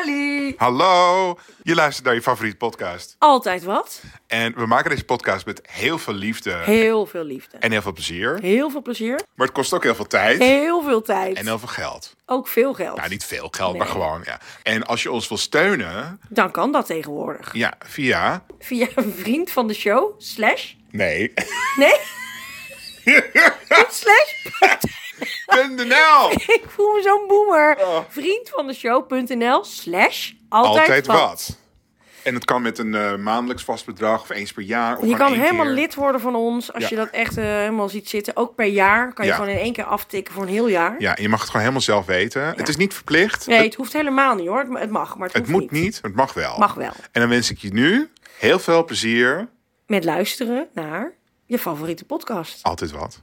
Halli! Hallo, je luistert naar je favoriete podcast. Altijd wat. En we maken deze podcast met heel veel liefde Heel veel liefde. en heel veel plezier. Heel veel plezier. Maar het kost ook heel veel tijd Heel veel tijd. en heel veel geld. Ook veel geld. Nou, niet veel geld, maar Nee. gewoon. Ja. En als je ons wil steunen, Dan kan dat tegenwoordig. ja, via. Via een vriend van de show. Slash. Nee. Nee. Niet slash. .nl. Ik voel me zo'n boomer. Oh. Vriend van de show.nl. Slash. Altijd, Altijd wat. wat. En het kan met een eh, maandelijks vast bedrag of eens per jaar. Of Je gewoon kan één helemaal keer. lid worden van ons. Als Ja. je dat echt eh, helemaal ziet zitten. Ook per jaar. Kan je Ja. gewoon in één keer aftikken voor een heel jaar. Ja, en je mag het gewoon helemaal zelf weten. Het is niet verplicht. Nee, het, het hoeft helemaal niet hoor. Het, het mag, maar het, het hoeft moet niet, maar het mag wel. Mag wel. En dan wens ik je nu heel veel plezier. Met luisteren naar je favoriete podcast. Altijd wat.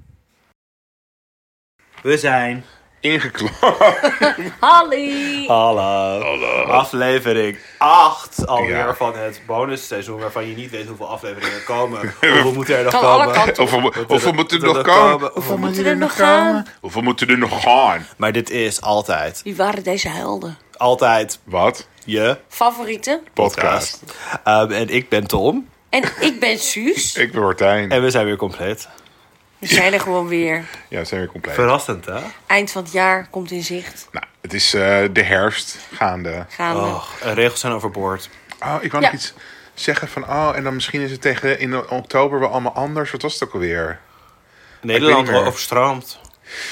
We zijn. Ingeklopt. Halli! Hallo. Aflevering 8 alweer Ja. van het bonusseizoen. Waarvan je niet weet hoeveel afleveringen er komen. Hoeveel moeten er nog Kan alle komen? kanten. Hoeveel, hoeveel, moeten er nog komen? Hoeveel moeten er nog gaan? Hoeveel moeten er nog gaan? Maar dit is altijd. Wie waren deze helden? Altijd Wat? je Favorieten? Podcast. Ehm, en ik ben Tom. En ik ben Suus. Ik ben Martijn. En we zijn weer compleet. We zijn er gewoon weer. Ja, we zijn weer compleet. Verrassend, hè? Eind van het jaar komt in zicht. Nou, het is eh, de herfst gaande. Gaan we. Och, eh, regels zijn overboord. Oh, ik wou Ja. nog iets zeggen van... Oh, en dan misschien is het tegen in oktober wel allemaal anders. Wat was het ook alweer? Nederland meer. overstroomt.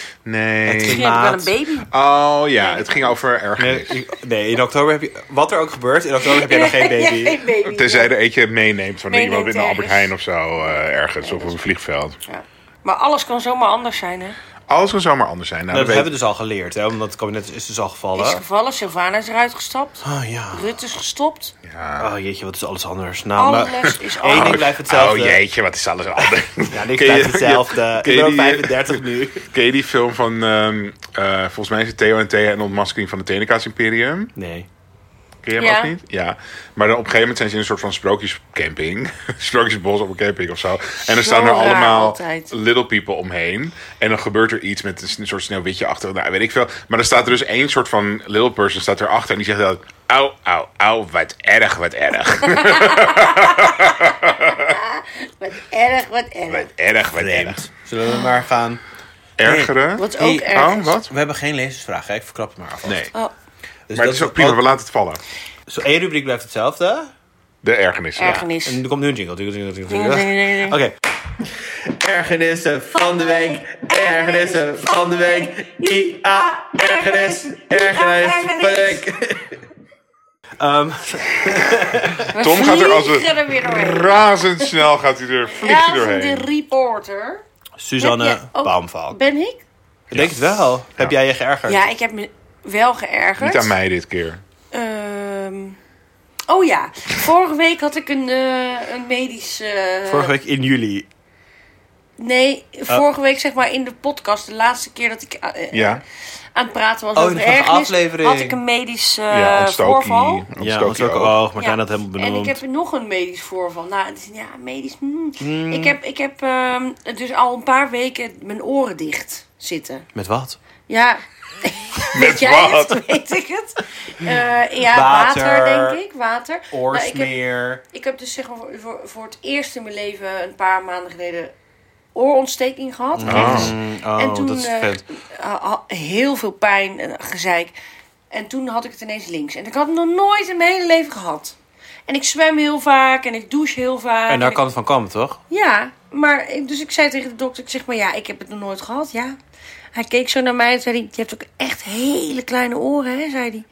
Het Nee. ging- Misschien heb ik maat. wel een baby. Oh ja, het ging over Nee, ergernis. ik- nee, in oktober heb je. Wat er ook gebeurt, in oktober heb je nog geen Ja, baby. geen baby. Tenzij er eentje meeneemt van Meeneemt iemand in een Albert ergens. Heijn of zo. eh, ergens of op een vliegveld. Ja. Maar alles kan zomaar anders zijn, hè? Alles kan zomaar anders zijn. Nou, Dat dat hebben we weet- dus al geleerd, hè? Omdat het kabinet is dus al Is gevallen. gevallen, Sylvana is eruit gestapt. Oh ja. Rut is gestopt. Ja. Oh jeetje, wat is alles anders? Nou, maar- Alles is Eén anders. ding blijft hetzelfde. Oh jeetje, wat is alles anders. Ja, Ken niks je- blijft hetzelfde. ken Ik ben ook die, eh, 35 nu. Ken je die film van, ehm, eh, volgens mij is het Theo en Thea en de ontmaskering van het Tenekaas Imperium? Nee. Ken je hem Ja. ook niet? Ja. Maar dan op een gegeven moment zijn ze in een soort van sprookjescamping. Sprookjesbos op een camping of zo. En dan staan er raar allemaal altijd. little people omheen. En dan gebeurt er iets met een s- een soort sneeuwwitje achter. Nou, weet ik veel. Maar dan staat er dus één soort van little person staat erachter. En die zegt dan... Au, au, au, wat erg, wat erg. Wat erg, wat erg. Wat erg, wat erg. Zullen we maar gaan... Ergeren? Wat ook Hey, erg. Oh, wat? We hebben geen lezersvraag, hè? Ik verklap het maar af. Nee. Oh, Dus Maar dat het is ook prima, we laten het vallen. Zo, één rubriek blijft hetzelfde. De ergernis. ja. ergernis. En er komt nu een jingle. Jingle, jingle, jingle, Jingle, jingle, jingle, jingle. jingle. Oké. Ergernissen van de week. Ergernissen van de week. I-A. Ergernis. Ergernis van de week. Ehm, We Tom gaat er als vliegen een- er weer doorheen. Razendsnel gaat hij er vliegt hij Razende doorheen. reporter. Heb Suzanne je ook- Baumval. Ben ik? Ik denk het wel. Heb jij je geërgerd? Ja, ik heb me wel geërgerd. Niet aan mij dit keer. Ehm, oh ja, vorige week had ik een, eh een medisch... eh, Vorige week in juli. Nee, vorige week zeg maar in de podcast, de laatste keer dat ik eh, Oh. Ja, aan het praten was Oh, over in de vorige ergernis, aflevering. had ik een medisch eh, ja voorval. ontstoken. Ja, ons ook oog. Maar Ja, jij dat helemaal En ik benoemd. heb nog een medisch voorval. Nou, het is, ja, medisch... mm. Hmm. Ik heb, ik heb ehm, dus al een paar weken mijn oren dicht zitten. Met wat? Ja. Weet jij het? Weet ik het? Eh, ja, water. Water. denk ik. Water. Nou, ik, heb, Oorsmeer. ik heb dus zeg maar voor- voor, voor het eerst in mijn leven een paar maanden geleden oorontsteking gehad. Rechts. Mm, oh, en toen dat is eh, vet. ha- ha- heel veel pijn en gezeik. En toen had ik het ineens links. En ik had het nog nooit in mijn hele leven gehad. En ik zwem heel vaak en ik douche heel vaak. En daar ik- kan het van komen, toch? ja, maar ik- dus ik zei tegen de dokter, ik zeg maar ja, ik heb het nog nooit gehad, ja. Hij keek zo naar mij en zei hij, je hebt ook echt hele kleine oren, hè, zei hij.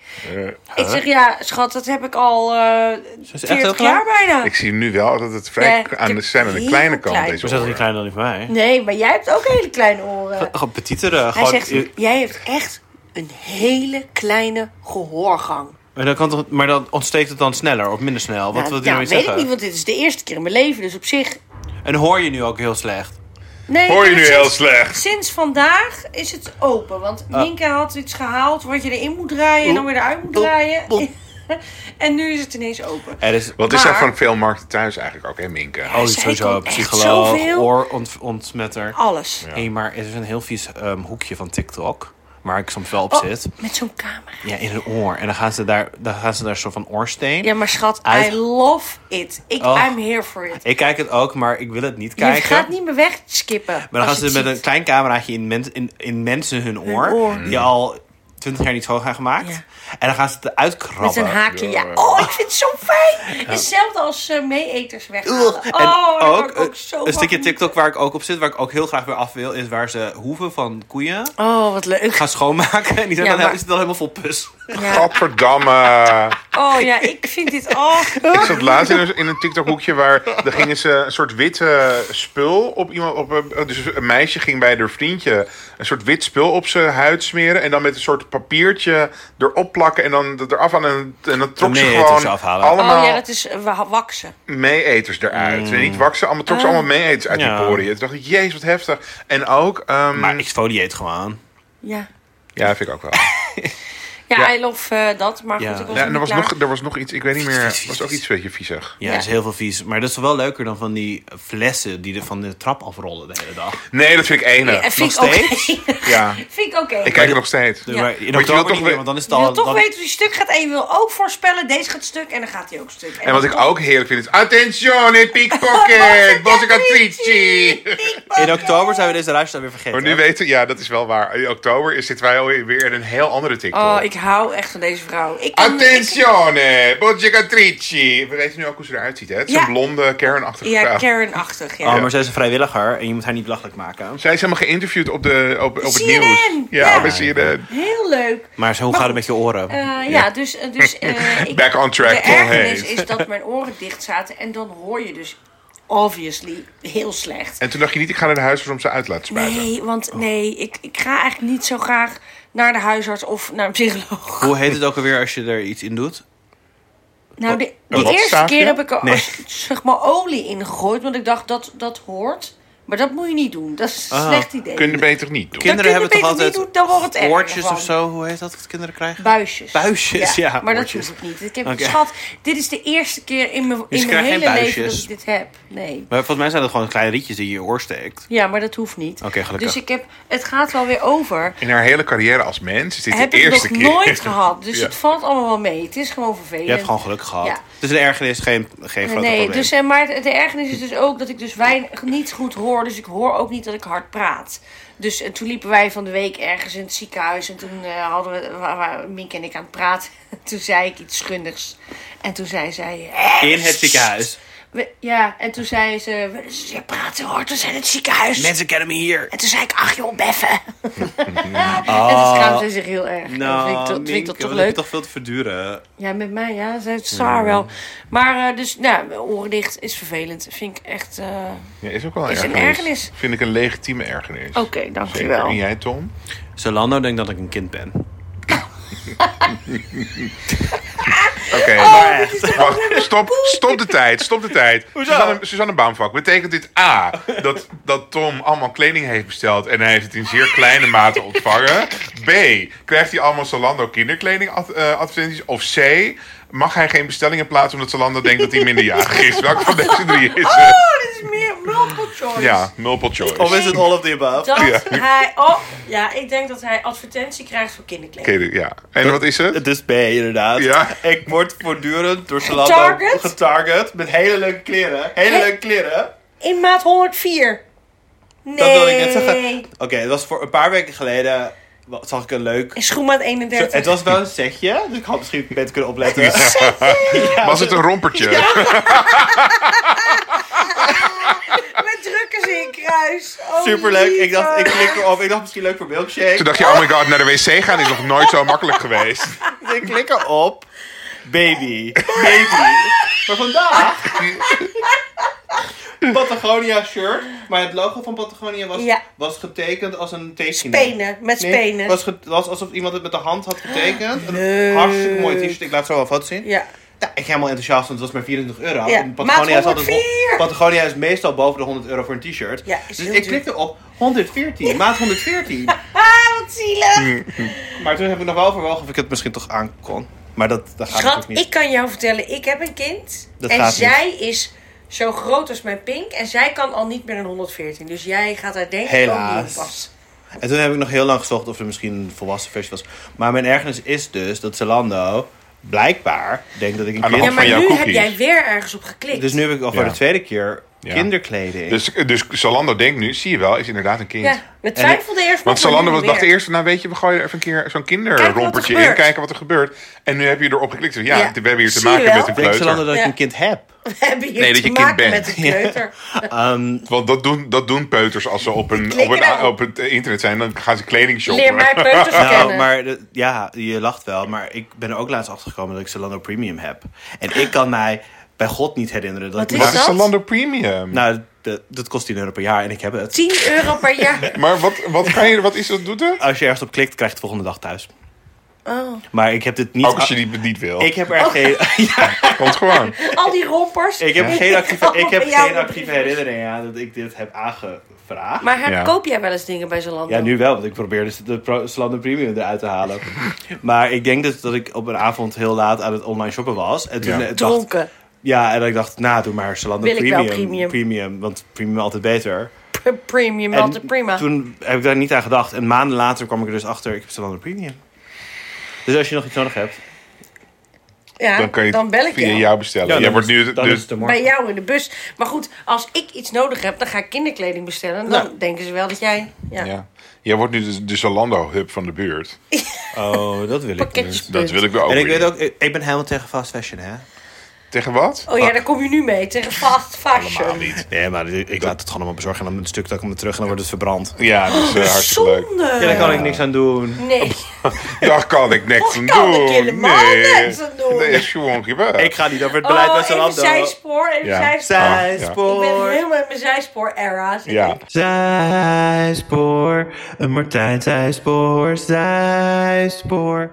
Eh, Ik zeg, ja, schat, dat heb ik al eh echt 40 heel jaar bijna. Ik zie nu wel dat het vrij Nee, k- aan de, ik- zijn aan de heel kleine kant klein. Ze deze zijn niet oren. kleiner dan die van mij. Nee, maar jij hebt ook hele kleine oren. Gewoon petiteren. Hij gewoon- zegt, jij hebt echt een hele kleine gehoorgang. maar, dan kan toch, maar dan ontsteekt het dan sneller of minder snel? Wat Nou, wil die nou, nou weet iets zeggen? ik niet, want dit is de eerste keer in mijn leven, dus op zich... En hoor je nu ook heel slecht? Nee, Hoor je ik heb nu het heel sinds- slecht? Sinds vandaag is het open. Want Ah. Nienke had iets gehaald wat je erin moet draaien en dan weer eruit moet draaien. en nu is het ineens open. Er is, Wat is er Maar- van veel markten thuis eigenlijk ook, hè, Minke? oh, zij sowieso kan echt psycholoog, zoveel. Oh. oorontmetter. Alles. Hé, maar er is een heel vies ehm, hoekje van TikTok. waar ik soms wel op Oh, zit. met zo'n camera. Ja, in hun oor. En dan gaan ze daar, dan gaan ze daar een soort van oorsteen. Ja, maar schat, Uit- I love it. Ik, Oh. I'm here for it. Ik kijk het ook, maar ik wil het niet Je kijken. gaat niet meer wegskippen. Maar dan als gaan ze je het met een ziet. klein cameraatje in, mens, in, in mensen hun oor, oor. die al twintig jaar niet schoon gaan gemaakt. Ja. En dan gaan ze het uitkrabben. Met een haakje, ja. Ja. Oh, ik vind het zo fijn. Hetzelfde als eh mee-eters weghalen. Ugh. Oh, daar word ik eh, ook zo een stukje van. TikTok waar ik ook op zit, waar ik ook heel graag weer af wil, is waar ze hoeven van koeien Oh, wat leuk. gaan schoonmaken. En die zijn Ja, dan, maar- is het dan helemaal vol pus. Ja. Godverdamme. Oh ja, ik vind dit... Oh, Ik zat laatst in een, in een TikTok-hoekje waar daar gingen ze een soort witte spul op iemand. Op, een- dus een meisje ging bij haar vriendje een soort wit spul op zijn huid smeren. En dan met een soort papiertje erop plakken en dan dat eraf aan. En, en dan trok ze meeeters gewoon afhalen. allemaal oh ja, dat is eh, wa- waksen. meeeters eruit. En niet waksen, allemaal trok ze Ah. allemaal meeeters uit Mm. Ja. die poriën. Toen dacht ik, jezus, wat heftig. En ook, ehm, Maar exfolieert gewoon. Ja. ja, vind ik ook wel. Ja, Ja. I love eh, dat, maar Ja. goed, ik was Ja, en er nog was, niet klaar. nog, er was nog iets, ik weet niet meer, er was ook iets een beetje viezig. Ja, Ja. dat is heel veel vies. Maar dat is wel leuker dan van die flessen die er van de trap afrollen de hele dag. Nee, dat vind ik Eh, enig. vind, ik nog oké. steeds? Ja. vind ik oké. Ik kijk het nog steeds. Ja. Maar Dus in wil oktober toch niet meer, we- want dan is het Je al... wil toch dan- weten hoe die stuk gaat en je wil ook voorspellen, deze gaat stuk en dan gaat die ook stuk. Oh, En wat ik ook heerlijk vind is... Attenzione, pickpocket! Bossi Catrici! In oktober zijn we deze luisteraar weer vergeten. Maar nu weten... Ja, dat is wel waar. In oktober is- zitten wij alweer weer in een heel andere TikTok. Oh, ik hou echt van deze vrouw. Ik kan- Attenzione, Bossi Catrici! eh, We weten nu ook hoe ze eruit ziet, hè? Het is Ja. een blonde, ik- Karen-achtige Ja, vrouw. Karen-achtig, ja. Oh, maar zij is een vrijwilliger en je moet haar niet belachelijk maken. Zij is helemaal geïnterviewd op, de, op, op het CNN, nieuws. Ja, ja. we zien het. Heel leuk. Maar zo, hoe Maar gaat het met goed, je oren? Eh, ja, dus... eh, dus eh, ik, Back on track, De Tom ergernis Hayes. is dat mijn oren dicht zaten en dan hoor je dus obviously heel slecht. En toen dacht je niet, ik ga naar de huisarts om ze uit te laten spuiten. Nee, want Oh. nee, ik, ik ga eigenlijk niet zo graag naar de huisarts of naar een psycholoog. Hoe heet het ook alweer als je er iets in doet? Nou, de, de wat eerste staafje? keer heb ik er Nee. als- zeg maar olie in gegooid, want ik dacht dat dat hoort. Maar dat moet je niet doen. Dat is een Ah. slecht idee. Kun je beter niet doen. Kinderen hebben toch beter niet altijd doen, dan wordt het erger oortjes van. of zo? Hoe heet dat wat kinderen krijgen? Buisjes. Buisjes, ja, maar oortjes. dat hoef ik niet. Ik heb Oké. schat, dit is de eerste keer in mijn, Dus in mijn je krijgt geen hele leven dat buisjes? ik dit heb. Nee. Maar volgens mij zijn dat gewoon kleine rietjes die je in je oor steekt. Ja, maar dat hoeft niet. Oké, gelukkig. Dus ik heb, het gaat wel weer over. In haar hele carrière als mens is dit heb de ik nog eerste keer. nooit gehad. Dus Ja. het valt allemaal wel mee. Het is gewoon vervelend. Je hebt gewoon geluk gehad. Ja. Dus de ergernis, geen, geen grote Nee, probleem. dus, eh, maar de de ergernis is dus ook dat ik dus weinig, niet goed hoor. Dus ik hoor ook niet dat ik hard praat. Dus eh, toen liepen wij van de week ergens in het ziekenhuis. En toen eh, hadden we, wa- wa- Mink en ik aan het praten. Toen zei ik iets schundigs. En toen zei zij... eh, In het ziekenhuis. we- ja, en toen zei ze... "We- Je praat heel hard, we zijn in het ziekenhuis. Mensen kennen me hier. En toen zei ik, ach joh, beffen. En toen Oh. schaamde ze zich heel erg. Nou, dat vind ik, to- vind ik Nienke, dat toch wat heb je leuk. toch veel te verduren. Ja, met mij, ja. Ze heeft zwaar wel. Maar eh, dus, nou, mijn oren dicht is vervelend. Vind ik echt... eh, Ja, is ook wel een Is een ergernis. ergernis. Vind ik een legitieme ergernis. Oké, dankjewel. En jij, Tom? Zalando denkt dat ik een kind ben. Oké. Wacht, stop, stop de tijd, stop de tijd. Hoezo? Suzanne, Suzanne Baumvak, betekent dit A, dat, dat Tom allemaal kleding heeft besteld en hij heeft het in zeer kleine mate ontvangen? B, krijgt hij allemaal Zalando kinderkleding ad- eh, advertenties? Of C, mag hij geen bestellingen plaatsen omdat Zalando denkt dat hij minderjarig is? Welke van deze drie is het? Oh, dit is meer multiple choice. Ja, multiple Of choice. is het all of the above? Dat Ja. hij... Oh, ja, ik denk dat hij advertentie krijgt voor kinderkleding. Oké, ja. En wat is het? Het is B, inderdaad. Ja. Ik word voortdurend door Zalando Getarget? getarget met hele leuke kleren. Hele Hè? leuke kleren. In maat 104. Nee. Dat wilde ik net zeggen. Oké, het was voor een paar weken geleden. wa- zag ik een leuk. In schoenmaat Zo, 31. Het was wel een setje, dus ik had misschien beter kunnen opletten. Was het een rompertje? Met drukken ze in kruis. Oh, Superleuk. Ik dacht, ik lieverd. klik erop. Ik dacht misschien leuk voor milkshake. Toen dacht je, oh my god, naar de wc gaan is nog nooit zo makkelijk geweest. Dus ik klik erop. Baby. Baby. Maar vandaag. Patagonia shirt. Maar het logo van Patagonia was, Ja. was getekend als een tekening. Spenen, met Nee, spenen. was, ge- was alsof iemand het met de hand had getekend. Een hartstikke mooi t-shirt. Ik laat zo wel een foto zien. Ja. Ja, ik helemaal enthousiast, want het was maar 24 euro. Ja, En Patagonia, maat is altijd 104. Patagonia is meestal boven de 100 euro voor een t-shirt. Ja, is dus heel ik duur. klikte op 114, maat 114. Ah, wat zielig. Maar toen heb ik nog wel overwogen of ik het misschien toch aan kon. Maar dat, dat gaat Schat, natuurlijk niet. ik kan jou vertellen, ik heb een kind. Dat en gaat niet. zij is zo groot als mijn pink. En zij kan al niet meer een 114. Dus jij gaat daar denk ik ook niet Helaas. op pas. En toen heb ik nog heel lang gezocht of er misschien een volwassen versie was. Maar mijn ergernis is dus dat Zalando blijkbaar denkt dat ik een Aan de Ja, hand van maar kind... jouw nu heb cookies. jij weer ergens op geklikt. Dus nu heb ik al voor Ja. de tweede keer Ja. kinderkleding. Dus, dus Zalando denkt nu, zie je wel, is inderdaad een kind. Ja, we twijfelden eerst nog, Want maar Zalando nu was, weer. dacht eerst, nou weet je, we gooien er even een keer zo'n Kijken wat kinderrompertje er in. gebeurt. Kijken wat er gebeurt. En nu heb je erop geklikt. Ja, Ja. we hebben hier te Zie je maken wel? met een Denkt kleuter. Zalando dat ik Ja. een kind heb? We hebben hier Nee, dat te je kind maken bent. met een kleuter. Want dat doen, dat doen peuters als ze op, een, klikken op, een, daarop. op het internet zijn. Dan gaan ze kleding shoppen. Leer mij peuters Nou, kennen. maar de- ja, je lacht wel. Maar ik ben er ook laatst achter gekomen dat ik Zalando Premium heb. En ik kan mij bij God niet herinneren dat Wat is ik... Wat is dat? Zalando Premium? Nou, dat, dat kost 10 euro per jaar en ik heb het. 10 euro per jaar. Maar wat, wat, kan je, wat is dat? Doet het? Als je ergens op klikt, krijg je het volgende dag thuis. Oh. Maar ik heb dit niet... Ook als je die niet wil. Ik heb er geen... Ja, Komt gewoon. Al die rompers. ik heb die geen actieve, komen ik heb bij jou geen op de actieve briefbus. herinnering aan dat ik dit heb aangevraagd. Maar her- Ja. koop jij wel eens dingen bij Zalando? Ja, nu wel, want ik probeer dus de pro- Zalando Premium eruit te halen. Maar ik denk dus dat ik op een avond heel laat aan het online shoppen was. En toen Ja. eh, dacht- Dronken. Ja, en dat ik dacht, nou, doe maar Zalando Wil ik wel premium, premium. Want premium altijd beter. P- Premium, En altijd prima. toen heb ik daar niet aan gedacht. En maanden later kwam ik er dus achter, ik heb Zalando premium. Dus als je nog iets nodig hebt... ja, Dan kan je het bel ik via jou. jou bestellen. Jij wordt nu... dan is Dus, het de Bij morgen. jou in de bus. Maar goed, als ik iets nodig heb, dan ga ik kinderkleding bestellen. Dan Nou. denken ze wel dat jij... Ja. ja. Jij wordt nu de, de Zalando-hub van de buurt. Oh, dat wil ik Pakketjes niet. Dat wil ik wel ook En ik weer. weet ook, ik ik ben helemaal tegen fast fashion, hè? Tegen wat? Oh ja, daar kom je nu mee. Tegen fast Helemaal fashion. niet. Nee, maar ik laat het gewoon allemaal bezorgen. En dan een stuk dat ik hem terug en dan wordt het verbrand. Ja, dat is Oh, eh, hartstikke leuk. Ja, daar Zonde. kan ik niks aan doen. Nee. Daar kan ik niks aan Daar doen. kan ik helemaal niks aan doen. Dat is gewoon gebeurd. Ik ga niet over het beleid Oh, van even Zalando. zijspoor. Even Ja. zijspoor. Ik ben Zijspoor. helemaal in mijn zijspoor-era. zit Ja. ik. Zijspoor. Een Martijn Zijspoor. Zijspoor.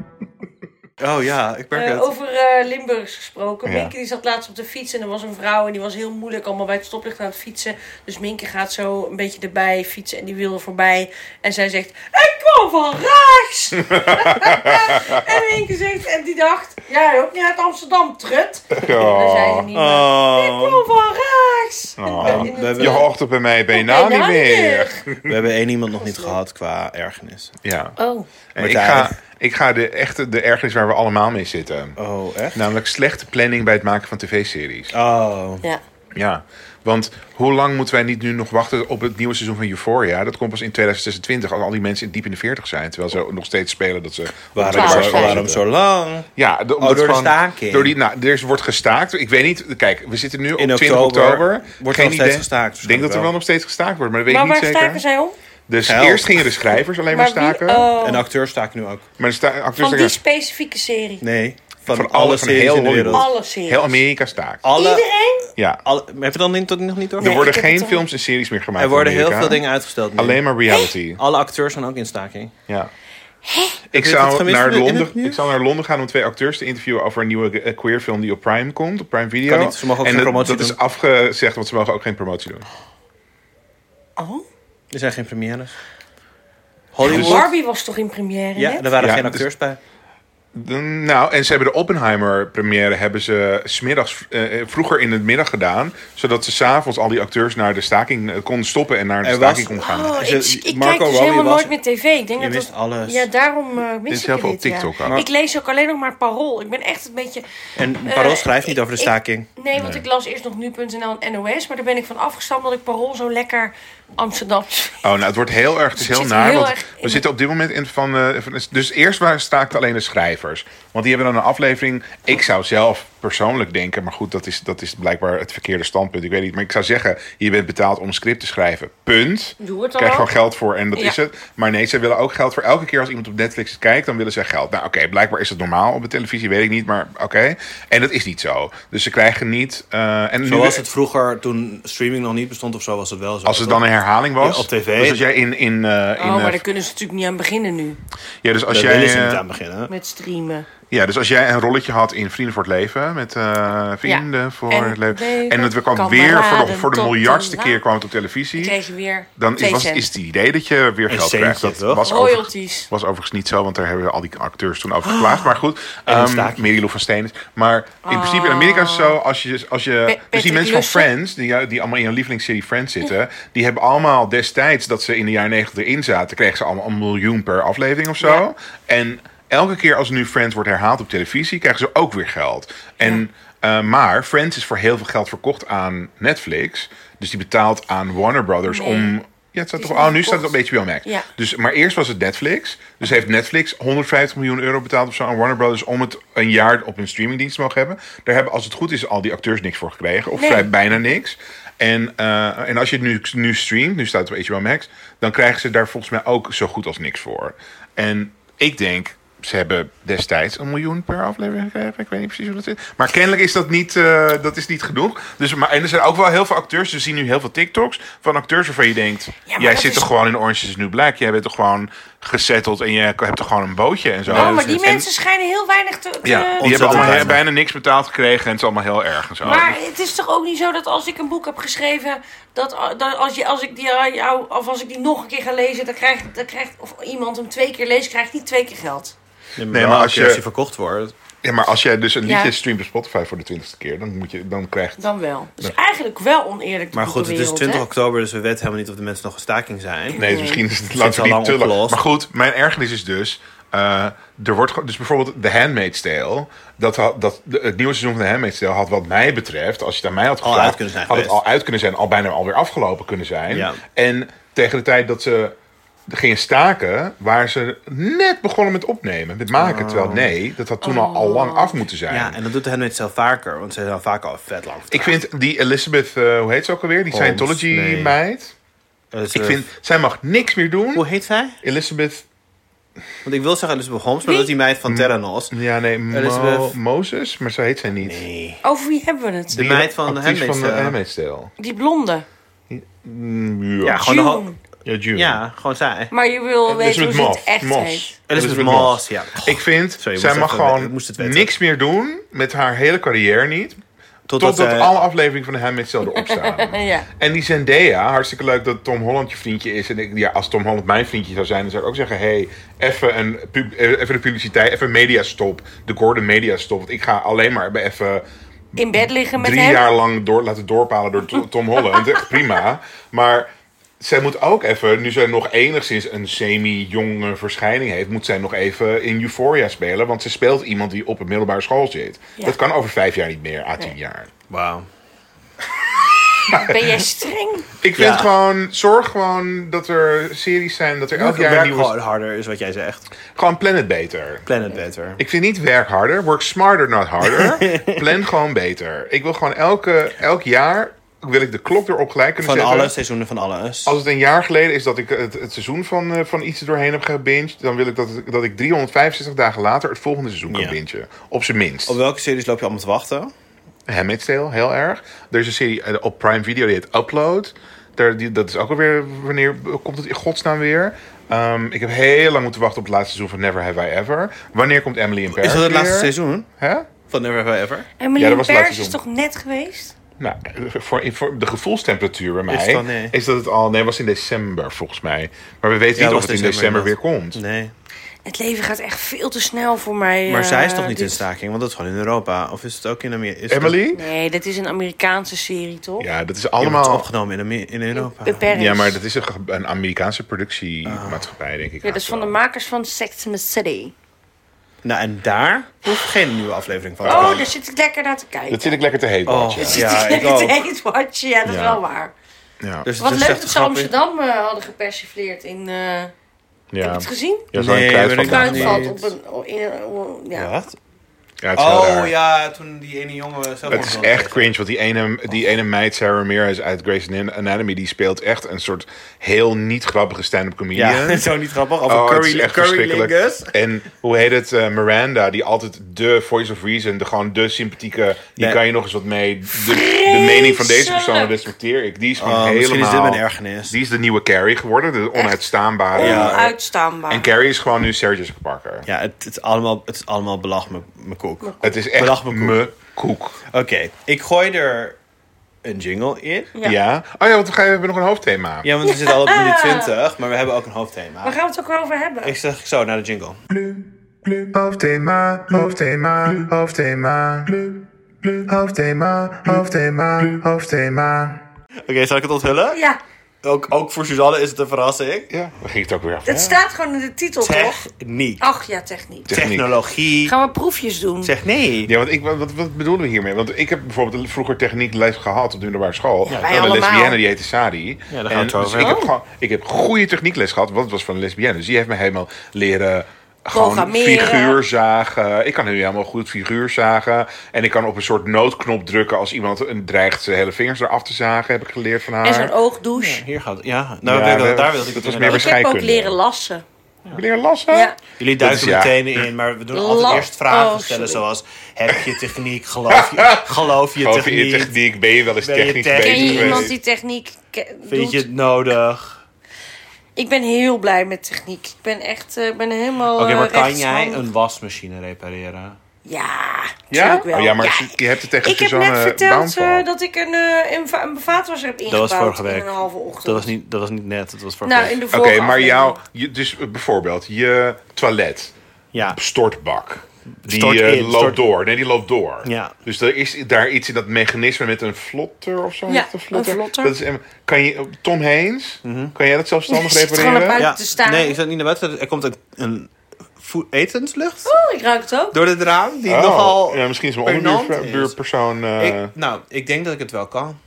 Oh ja, ik merk Eh, het. over eh, Limburgs gesproken. Ja. Minke die zat laatst op de fiets en er was een vrouw en die was heel moeilijk allemaal bij het stoplicht aan het fietsen. Dus Minke gaat zo een beetje erbij fietsen en die wil er voorbij. En zij zegt, ik kwam van rechts! en Minke zegt, en die dacht, jij ook niet uit Amsterdam, trut. En dan zei ze niet meer, ik Oh. kwam van rechts! Oh. En- en- We hebben- Je hoogt op bij mij bijna Bijna niet meer. niet We hebben één iemand nog niet gehad qua ergernis. Ja. Oh, En ik, Martijn. ga, ik ga de echte de ergernis waar we allemaal mee zitten. Oh, echt? Namelijk slechte planning bij het maken van tv-series. Oh. ja. Ja, want hoe lang moeten wij niet nu nog wachten op het nieuwe seizoen van Euphoria? Dat komt pas in 2026, als al die mensen diep in de 40 zijn. Terwijl ze nog steeds spelen dat ze... Waarom, Twaalf zo, zijn. waarom zo lang? Ja, de, omdat Oh, door de gewoon- staking. Door die, nou, er is- wordt gestaakt. Ik weet niet, kijk, we zitten nu op In 20 oktober oktober. wordt er Geen nog steeds idee. gestaakt, Ik denk dat er wel wel. nog steeds gestaakt wordt, maar dat weet Maar ik waar niet staken zeker. zij om? Dus Geld. eerst gingen de schrijvers alleen maar, Maar wie- staken. oh. En de acteur sta ik nu ook. Maar de sta- acteurs Van die zeggen, specifieke serie? Nee. Van, Van alle- alle van series heel in de wereld. Hollywood. Alle series? heel Amerika staakt. Alle, Iedereen? Ja. alle, heb je dan niet, tot, nog niet door? Er worden ik heb geen het al- films en series meer gemaakt er worden in heel Amerika. veel dingen uitgesteld nu. Alleen maar reality. Alle acteurs zijn ook in staking. Ja. Heb Ik je het zou, gemist in naar het- in Londen, het nieuws? ik zou naar Londen gaan om twee acteurs te interviewen over een nieuwe eh, queer film die op Prime komt, op Prime Video. Kan niet, ze mogen ook en geen dat- promotie dat doen. is afgezegd, want ze mogen ook geen promotie doen. Oh. Er zijn geen premières. Dus Hollywood. Barbie was toch in première? Dus- ja, net? er waren Ja, geen dus- acteurs bij. Dan- Nou, en ze hebben de Oppenheimer-première hebben ze 's middags, eh, eh, vroeger in het middag gedaan. Zodat ze s'avonds al die acteurs naar de staking eh, konden stoppen en naar de Er was- staking kon gaan. Oh, Dus ik, het- ik Marco kijk dus Robbie helemaal was- nooit meer tv. Ik denk Je dat wist dat- alles. Ja, daarom eh Dit mis is ik heel het veel op niet. ja. TikTok ook. Maar- Ik lees ook alleen nog maar Parool. Ik ben echt een beetje... En Parool eh, schrijft niet over de ik- staking. Nee, want ik las eerst nog nu.nl en NOS. Maar daar ben ik van afgestapt omdat ik Parool zo lekker Amsterdams... Oh, nou, het wordt heel erg, het is Dus Het heel zit naar. heel want erg we in- zitten op dit moment in van. eh, van- dus eerst waren staakten alleen de schrijvers. Want die hebben dan een aflevering. Ik zou zelf persoonlijk denken, maar goed, dat is, dat is blijkbaar het verkeerde standpunt. Ik weet niet. Maar ik zou zeggen: je bent betaald om een script te schrijven. Punt. Doe het dan Krijg ook. gewoon geld voor en dat Ja. is het. Maar nee, ze willen ook geld voor. Elke keer als iemand op Netflix kijkt, dan willen ze geld. Nou, oké, blijkbaar is het normaal op de televisie, weet ik niet. Maar oké. En dat is niet zo. Dus ze krijgen niet. eh en Zo nu, was het vroeger, toen streaming nog niet bestond of zo, was het wel zo. Als het dan een herhaling was. Ja, op tv. Dus als jij in. in, eh, in Oh, maar eh, daar kunnen ze natuurlijk niet aan beginnen nu. ja, dus als Als jij. jij... willen ze eh, niet aan beginnen. Met riemen. Ja, dus als jij een rolletje had in Vrienden voor het Leven met eh, vrienden voor En het leven. leven, En het kwam kameraden, weer voor de, voor de tot de miljardste la- nou, keer kwam het op Dan televisie. kreeg je weer Dan is, twee was, cent. is het idee dat je weer geld centje, krijgt. Dat toch? was, overigens- royalties. was overigens niet zo, want daar hebben al die acteurs toen over geklaagd. Maar goed, een ehm staakje. Mary Lou van Steen is. Maar in principe in Amerika is het zo, als je, als je dus die Patrick mensen Lussen. van Friends, die, jou- die allemaal in een lievelingsserie Friends zitten, die hebben allemaal destijds dat ze in de jaren negentig erin zaten, kregen ze allemaal een miljoen per aflevering of zo. Ja. En elke keer als nu Friends wordt herhaald op televisie, krijgen ze ook weer geld. En, eh, maar Friends is voor heel veel geld verkocht aan Netflix. Dus die betaalt aan Warner Brothers Nee. om... Ja, het staat Die toch, is oh, nu niet staat het op HBO Max. Ja. Dus, maar eerst was het Netflix. Dus heeft Netflix 150 miljoen euro betaald of zo aan Warner Brothers... om het een jaar op hun streamingdienst te mogen hebben. Daar hebben, als het goed is, al die acteurs niks voor gekregen. Of Nee. vrij bijna niks. En, eh, en als je het nu, nu streamt, nu staat het op HBO Max... dan krijgen ze daar volgens mij ook zo goed als niks voor. En ik denk... Ze hebben destijds een miljoen per aflevering gekregen. Ik weet niet precies hoe dat zit. Maar kennelijk is dat niet, eh, dat is niet genoeg. Dus, maar, en er zijn ook wel heel veel acteurs. We zien nu heel veel TikToks van acteurs waarvan je denkt... maar jij dat zit is- toch gewoon in Orange is the New Black. Jij bent toch gewoon gezetteld en je hebt toch gewoon een bootje en zo. Oh, dus maar die En- mensen eh, schijnen heel weinig te... te- ja, die hebben ontzettend allemaal weinig. bijna niks betaald gekregen en het is allemaal heel erg Oh. en zo. Maar het is toch ook niet zo dat als ik een boek heb geschreven, dat, a- dat als, je, als ik die aan jou, of als ik die nog een keer ga lezen, dan krijgt, dan krijgt of iemand hem twee keer leest, krijgt hij twee keer geld. Nee, maar als je- Als die verkocht wordt. ja, maar als jij dus een liedje Ja. streamt op Spotify voor de twintigste keer, dan, moet je, dan krijgt... Dan wel. Dus eigenlijk wel oneerlijk. de Maar goed, het is boekenwereld, 20 hè? oktober, dus we weten helemaal niet of de mensen nog een staking zijn. Nee, Nee. misschien is het is laten we al niet lang te lang. opgelost. Maar goed, mijn ergernis is dus. eh, er wordt gewoon- dus bijvoorbeeld The Handmaid's Tale. Dat, had- dat, de- het nieuwe seizoen van The Handmaid's Tale had, wat mij betreft, als je het aan mij had gevraagd, uit kunnen zijn had het geweest. al uit kunnen zijn, al bijna alweer afgelopen kunnen zijn. Ja. En tegen de tijd dat ze gingen staken, waren ze net begonnen met opnemen, met maken. Terwijl nee, dat had toen al, al lang af moeten zijn. Oh. Ja, en dat doet de Handmaid zelf vaker, want ze zijn vaak al vet lang. Ik vind die Elizabeth, eh, hoe heet ze ook alweer? Die Holmes, nee. Scientology-meid. Ik vind, zij mag niks meer Dus, eh, Hoe doen. heet zij? Elizabeth Want ik wil zeggen Elizabeth Holmes, maar Wie? dat is die meid van Terranos. Ja, Mm. nee, Mo- Elizabeth. Moses, maar zo heet zij niet. Nee. Over wie hebben we het? De meid van de actrice Handmaid's van de Tale. Handmaid's Tale. Die blonde. Mm, Ja, Ja, gewoon de ho- June. ja, June. Ja, gewoon zij. Maar je wil weten hoe ze het echt heet. Elizabeth Moss, ja. Ik vind, Sorry, ik zij moest mag even- ik gewoon moest het weten. niks meer doen met haar hele carrière niet. Totdat, Totdat eh, alle afleveringen van de Handmaid's Tale erop staan. Ja. En die Zendaya, hartstikke leuk dat Tom Holland je vriendje is. En ik, ja, als Tom Holland mijn vriendje zou zijn, dan zou ik ook zeggen... hey, even, een pub- eh, even de publiciteit, even media stop. De Gordon media stop. Want ik ga alleen maar bij even In bed liggen met drie hem. jaar lang door, laten doorpalen door To- Tom Holland. Echt prima. Maar zij moet ook even, nu zij nog enigszins een semi-jonge verschijning heeft, moet zij nog even in Euphoria spelen. Want ze speelt iemand die op een middelbare school zit. Ja. Dat kan over vijf jaar niet meer, à tien Nee. jaar. Wauw. Ben jij streng? Ik vind Ja. gewoon, zorg gewoon dat er series zijn, dat er elk Elk jaar een werk nieuwe... gewoon Gewoon, harder is wat jij zegt. planet beter. Planet better. Ik vind niet werk harder, work smarter, not harder. Plan gewoon beter. Ik wil gewoon elke, elk jaar, wil ik de klok erop gelijk kunnen Van zetten. alle seizoenen van alles. Als het een jaar geleden is dat ik het, het seizoen van, eh, van iets er doorheen heb gebinged, dan wil ik dat, dat ik 365 dagen later het volgende seizoen kan Ja. bingen. Op zijn minst. Op welke series loop je allemaal te wachten? Handmaid's Tale, heel erg. Er is een serie eh, op Prime Video die heet Upload. Daar, die, dat is ook alweer, wanneer komt het in godsnaam weer? Ehm, ik heb heel lang moeten wachten op het laatste seizoen van Never Have I Ever. Wanneer komt Emily in Paris Is dat het laatste weer? seizoen? Hè? Van Never Have I Ever? Emily Ja, ja, dat was het laatste is toch net geweest? Nou, voor, voor de gevoelstemperatuur bij mij Is het al, nee. is dat het al... Nee, het was in december volgens mij. Maar we weten Ja, niet of was het in december december Dus- weer komt. Nee. Het leven gaat echt veel te snel voor mij. Maar eh, zij is toch niet dit- in staking? Want dat is gewoon in Europa. Of is het ook in Amerika? Is het ook- Emily? Nee, dat is een Amerikaanse serie, toch? Ja, dat is Ja, maar het is allemaal. opgenomen in, Ame- in Europa. In Parijs. Ja, maar dat is een, ge- een Amerikaanse productiemaatschappij, denk ik. Ja, dat is van de makers van Sex and the City. Nou, en daar hoeft geen nieuwe aflevering van te Oh, komen. daar zit ik lekker naar te kijken. Dat zit ik lekker te heet. Oh. watchen. Zit Ja, ik ik lekker ook. te heet watchen. Ja, dat is Ja. wel waar. Ja. Dus het Wat is leuk echt dat een ze grapje. Amsterdam eh, hadden gepersifleerd in... eh, ja. Heb je het gezien? Ja, zo'n Nee, kruidvat. ben ik daar Kruidvat niet. op een... o- in een- o- ja. Wat? Ja, het is heel Oh raar. ja, toen die ene jongen zelf Het is echt cringe, want die ene, die ene meid, Sarah Ramirez uit Grey's Anatomy, die speelt echt een soort heel niet grappige stand-up comedian. Ja, zo niet grappig. Of Oh, een het curry, is echt curry verschrikkelijk. lingus. En hoe heet het? eh, Miranda, die altijd de voice of reason, de, gewoon de sympathieke, die Nee. kan je nog eens wat mee. De, de mening van deze persoon Vreselijk. respecteer ik. Die is gewoon Oh, helemaal... misschien is dit mijn ergernis. Die is de nieuwe Carrie geworden, de onuitstaanbare. Onuitstaanbaar. En Carrie is gewoon nu Sarah Jessica Parker. Ja, het, het, is allemaal, het is allemaal belach me- me koek. Oké, Het is echt Belach me koek. me koek. ik gooi er een jingle in. Ja. Ja. Oh ja, want we gaan- we hebben nog een hoofdthema. Ja, want we zitten al op minuut 20, maar we hebben ook een hoofdthema. Waar gaan we het ook wel over hebben? Ik zeg zo naar de jingle. Hoofdthema, hoofdthema, hoofdthema. Hoofdthema, hoofdthema, hoofdthema. Oké, zal ik het onthullen? Ja, Ook, ook voor Suzanne is het een verrassing. Ja, we gingen het ook weer af. het staat gewoon in de titel, toch? Techniek. Ach ja, techniek. Techniek. Technologie. Gaan we proefjes doen? Zeg nee. Ja, want ik, wat, wat bedoelen we hiermee? Want ik heb bijvoorbeeld vroeger techniekles gehad op de middelbare school. wij en een allemaal. lesbienne die heette Sadi. daar gaan we En het over dus ik, heb hebben. gewoon, ik heb goede techniekles gehad, want het was van een lesbienne. Dus die heeft me helemaal leren... Gewoon Programmeren. figuur zagen. Ik kan nu helemaal goed figuur zagen. En ik kan op een soort noodknop drukken als iemand een dreigt zijn hele vingers eraf te zagen, heb ik geleerd van haar. En zo'n oogdouche. Hier gaat het. Ja, nou, Ja, ik denk dat- we- daar wilde ik dat het was was meer Ik heb ook scheikunde. leren lassen. Heb je leren lassen? Ja. Jullie Dat is duiken ja. meteen in, maar we doen altijd La- eerst vragen Oh, stellen sorry. zoals... Heb je techniek? Geloof je, geloof je Over techniek? je techniek ben je wel eens Ben je technisch technisch? Ken bezig je weet- iemand geweest. die techniek ke- Vind je doet? het nodig? Ik ben heel blij met techniek. Ik ben echt eh, ik ben helemaal Oké, maar eh, kan jij rechtshandig. een wasmachine repareren? Ja, Ja? natuurlijk wel. Oh ja, maar je hebt het tegen Ik heb Suzanne net verteld Baumval. eh, dat ik een, eh, een, va- een vaatwasser heb Dat ingebouwd was vorige in week. een halve ochtend. Dat was niet, dat was niet net, dat was vorige Nou, week. in de Oké, vorige maar aflevering. jouw... je- dus eh, bijvoorbeeld je toilet. Ja, stortbak. Die Stort eh, in, loopt stort- door. Nee, die loopt door. Ja. Dus er is daar iets in dat mechanisme met een vlotter of zo. Ja, Met een vlotter. een vlotter. Dat is, em- kan je, Tom Heens, Mhm. kan jij dat zelfstandig Zit gewoon repareren? een ja. te staan. Nee, ik zat niet naar buiten. Er komt een, een voe- etenslucht Oh, ik ruik het ook. door het raam die Oh, nogal... ja, misschien is mijn pregnant onderbuurpersoon... is. buurpersoon eh, Ik- nou, ik denk dat ik het wel kan.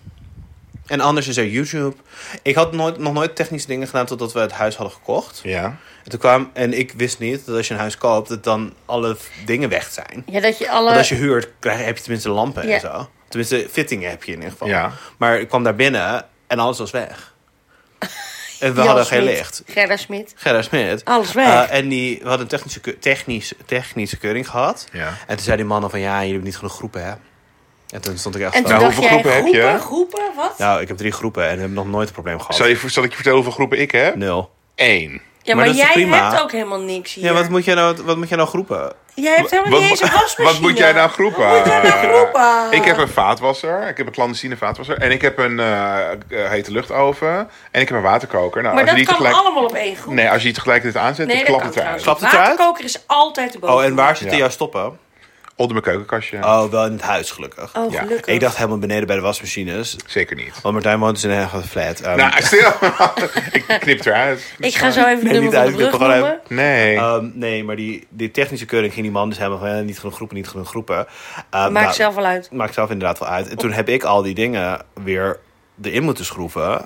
En anders is er YouTube. Ik had nooit, nog nooit technische dingen gedaan totdat we het huis hadden gekocht. ja. En toen kwam, en ik wist niet dat als je een huis koopt, dat dan alle f- dingen weg zijn. Ja, dat je Want alle... als je huurt, krijg, heb je tenminste lampen Ja. en zo. Tenminste, fittingen heb je in ieder geval. Ja. Maar ik kwam daar binnen en alles was weg. En we Jan hadden geen Smit, licht. Gerda Smit. Gerda Smit. Alles weg. Eh, en die, we hadden een technische, keu- technische, technische keuring gehad. Ja. En toen zeiden die mannen van, ja, jullie hebben niet genoeg groepen, hè. En toen stond ik echt En van, toen dacht Nou, hoeveel jij, groepen heb je? groepen, groepen, wat? nou, ik heb drie groepen en heb nog nooit een probleem gehad. Zal, je, zal ik je vertellen hoeveel groepen ik heb? Nul. Eén. ja, maar maar, dat is jij toch prima? hebt ook helemaal niks hier. Ja, wat moet, jij nou, wat moet jij nou groepen? Jij hebt helemaal niet Wat- eens een wasmachine. Wat moet jij nou groepen? Wat moet jij nou groepen? Ik heb een vaatwasser, ik heb een clandestine vaatwasser en ik heb een eh, eh, hete luchtoven en ik heb een waterkoker. Nou, Maar als dat je die kan tegelijk... allemaal op één groep. Nee, als je die tegelijkertijd aanzet, Nee, dan dat klapt kan het eruit. trouwens. Klapt het eruit? Waterkoker is altijd de boven. Oh, en waar zitten Ja. jouw stoppen? Onder mijn keukenkastje? Oh, wel in het huis, gelukkig. Oh, Ja. gelukkig. Ik dacht helemaal beneden bij de wasmachines. Zeker niet. Want Martijn woont dus in een eigen flat. Ehm, Nou, stil. ik knip het eruit. Ik ga zo even de Nee, nummer niet van de uit, ik brug wil gewoon noemen. Nee. Ehm, nee, maar die, die technische keuring ging die man dus helemaal van... ja, niet genoeg groepen, niet genoeg groepen. Ehm, Maakt nou, zelf wel uit. Maakt zelf inderdaad wel uit. En toen heb ik al die dingen weer erin moeten schroeven.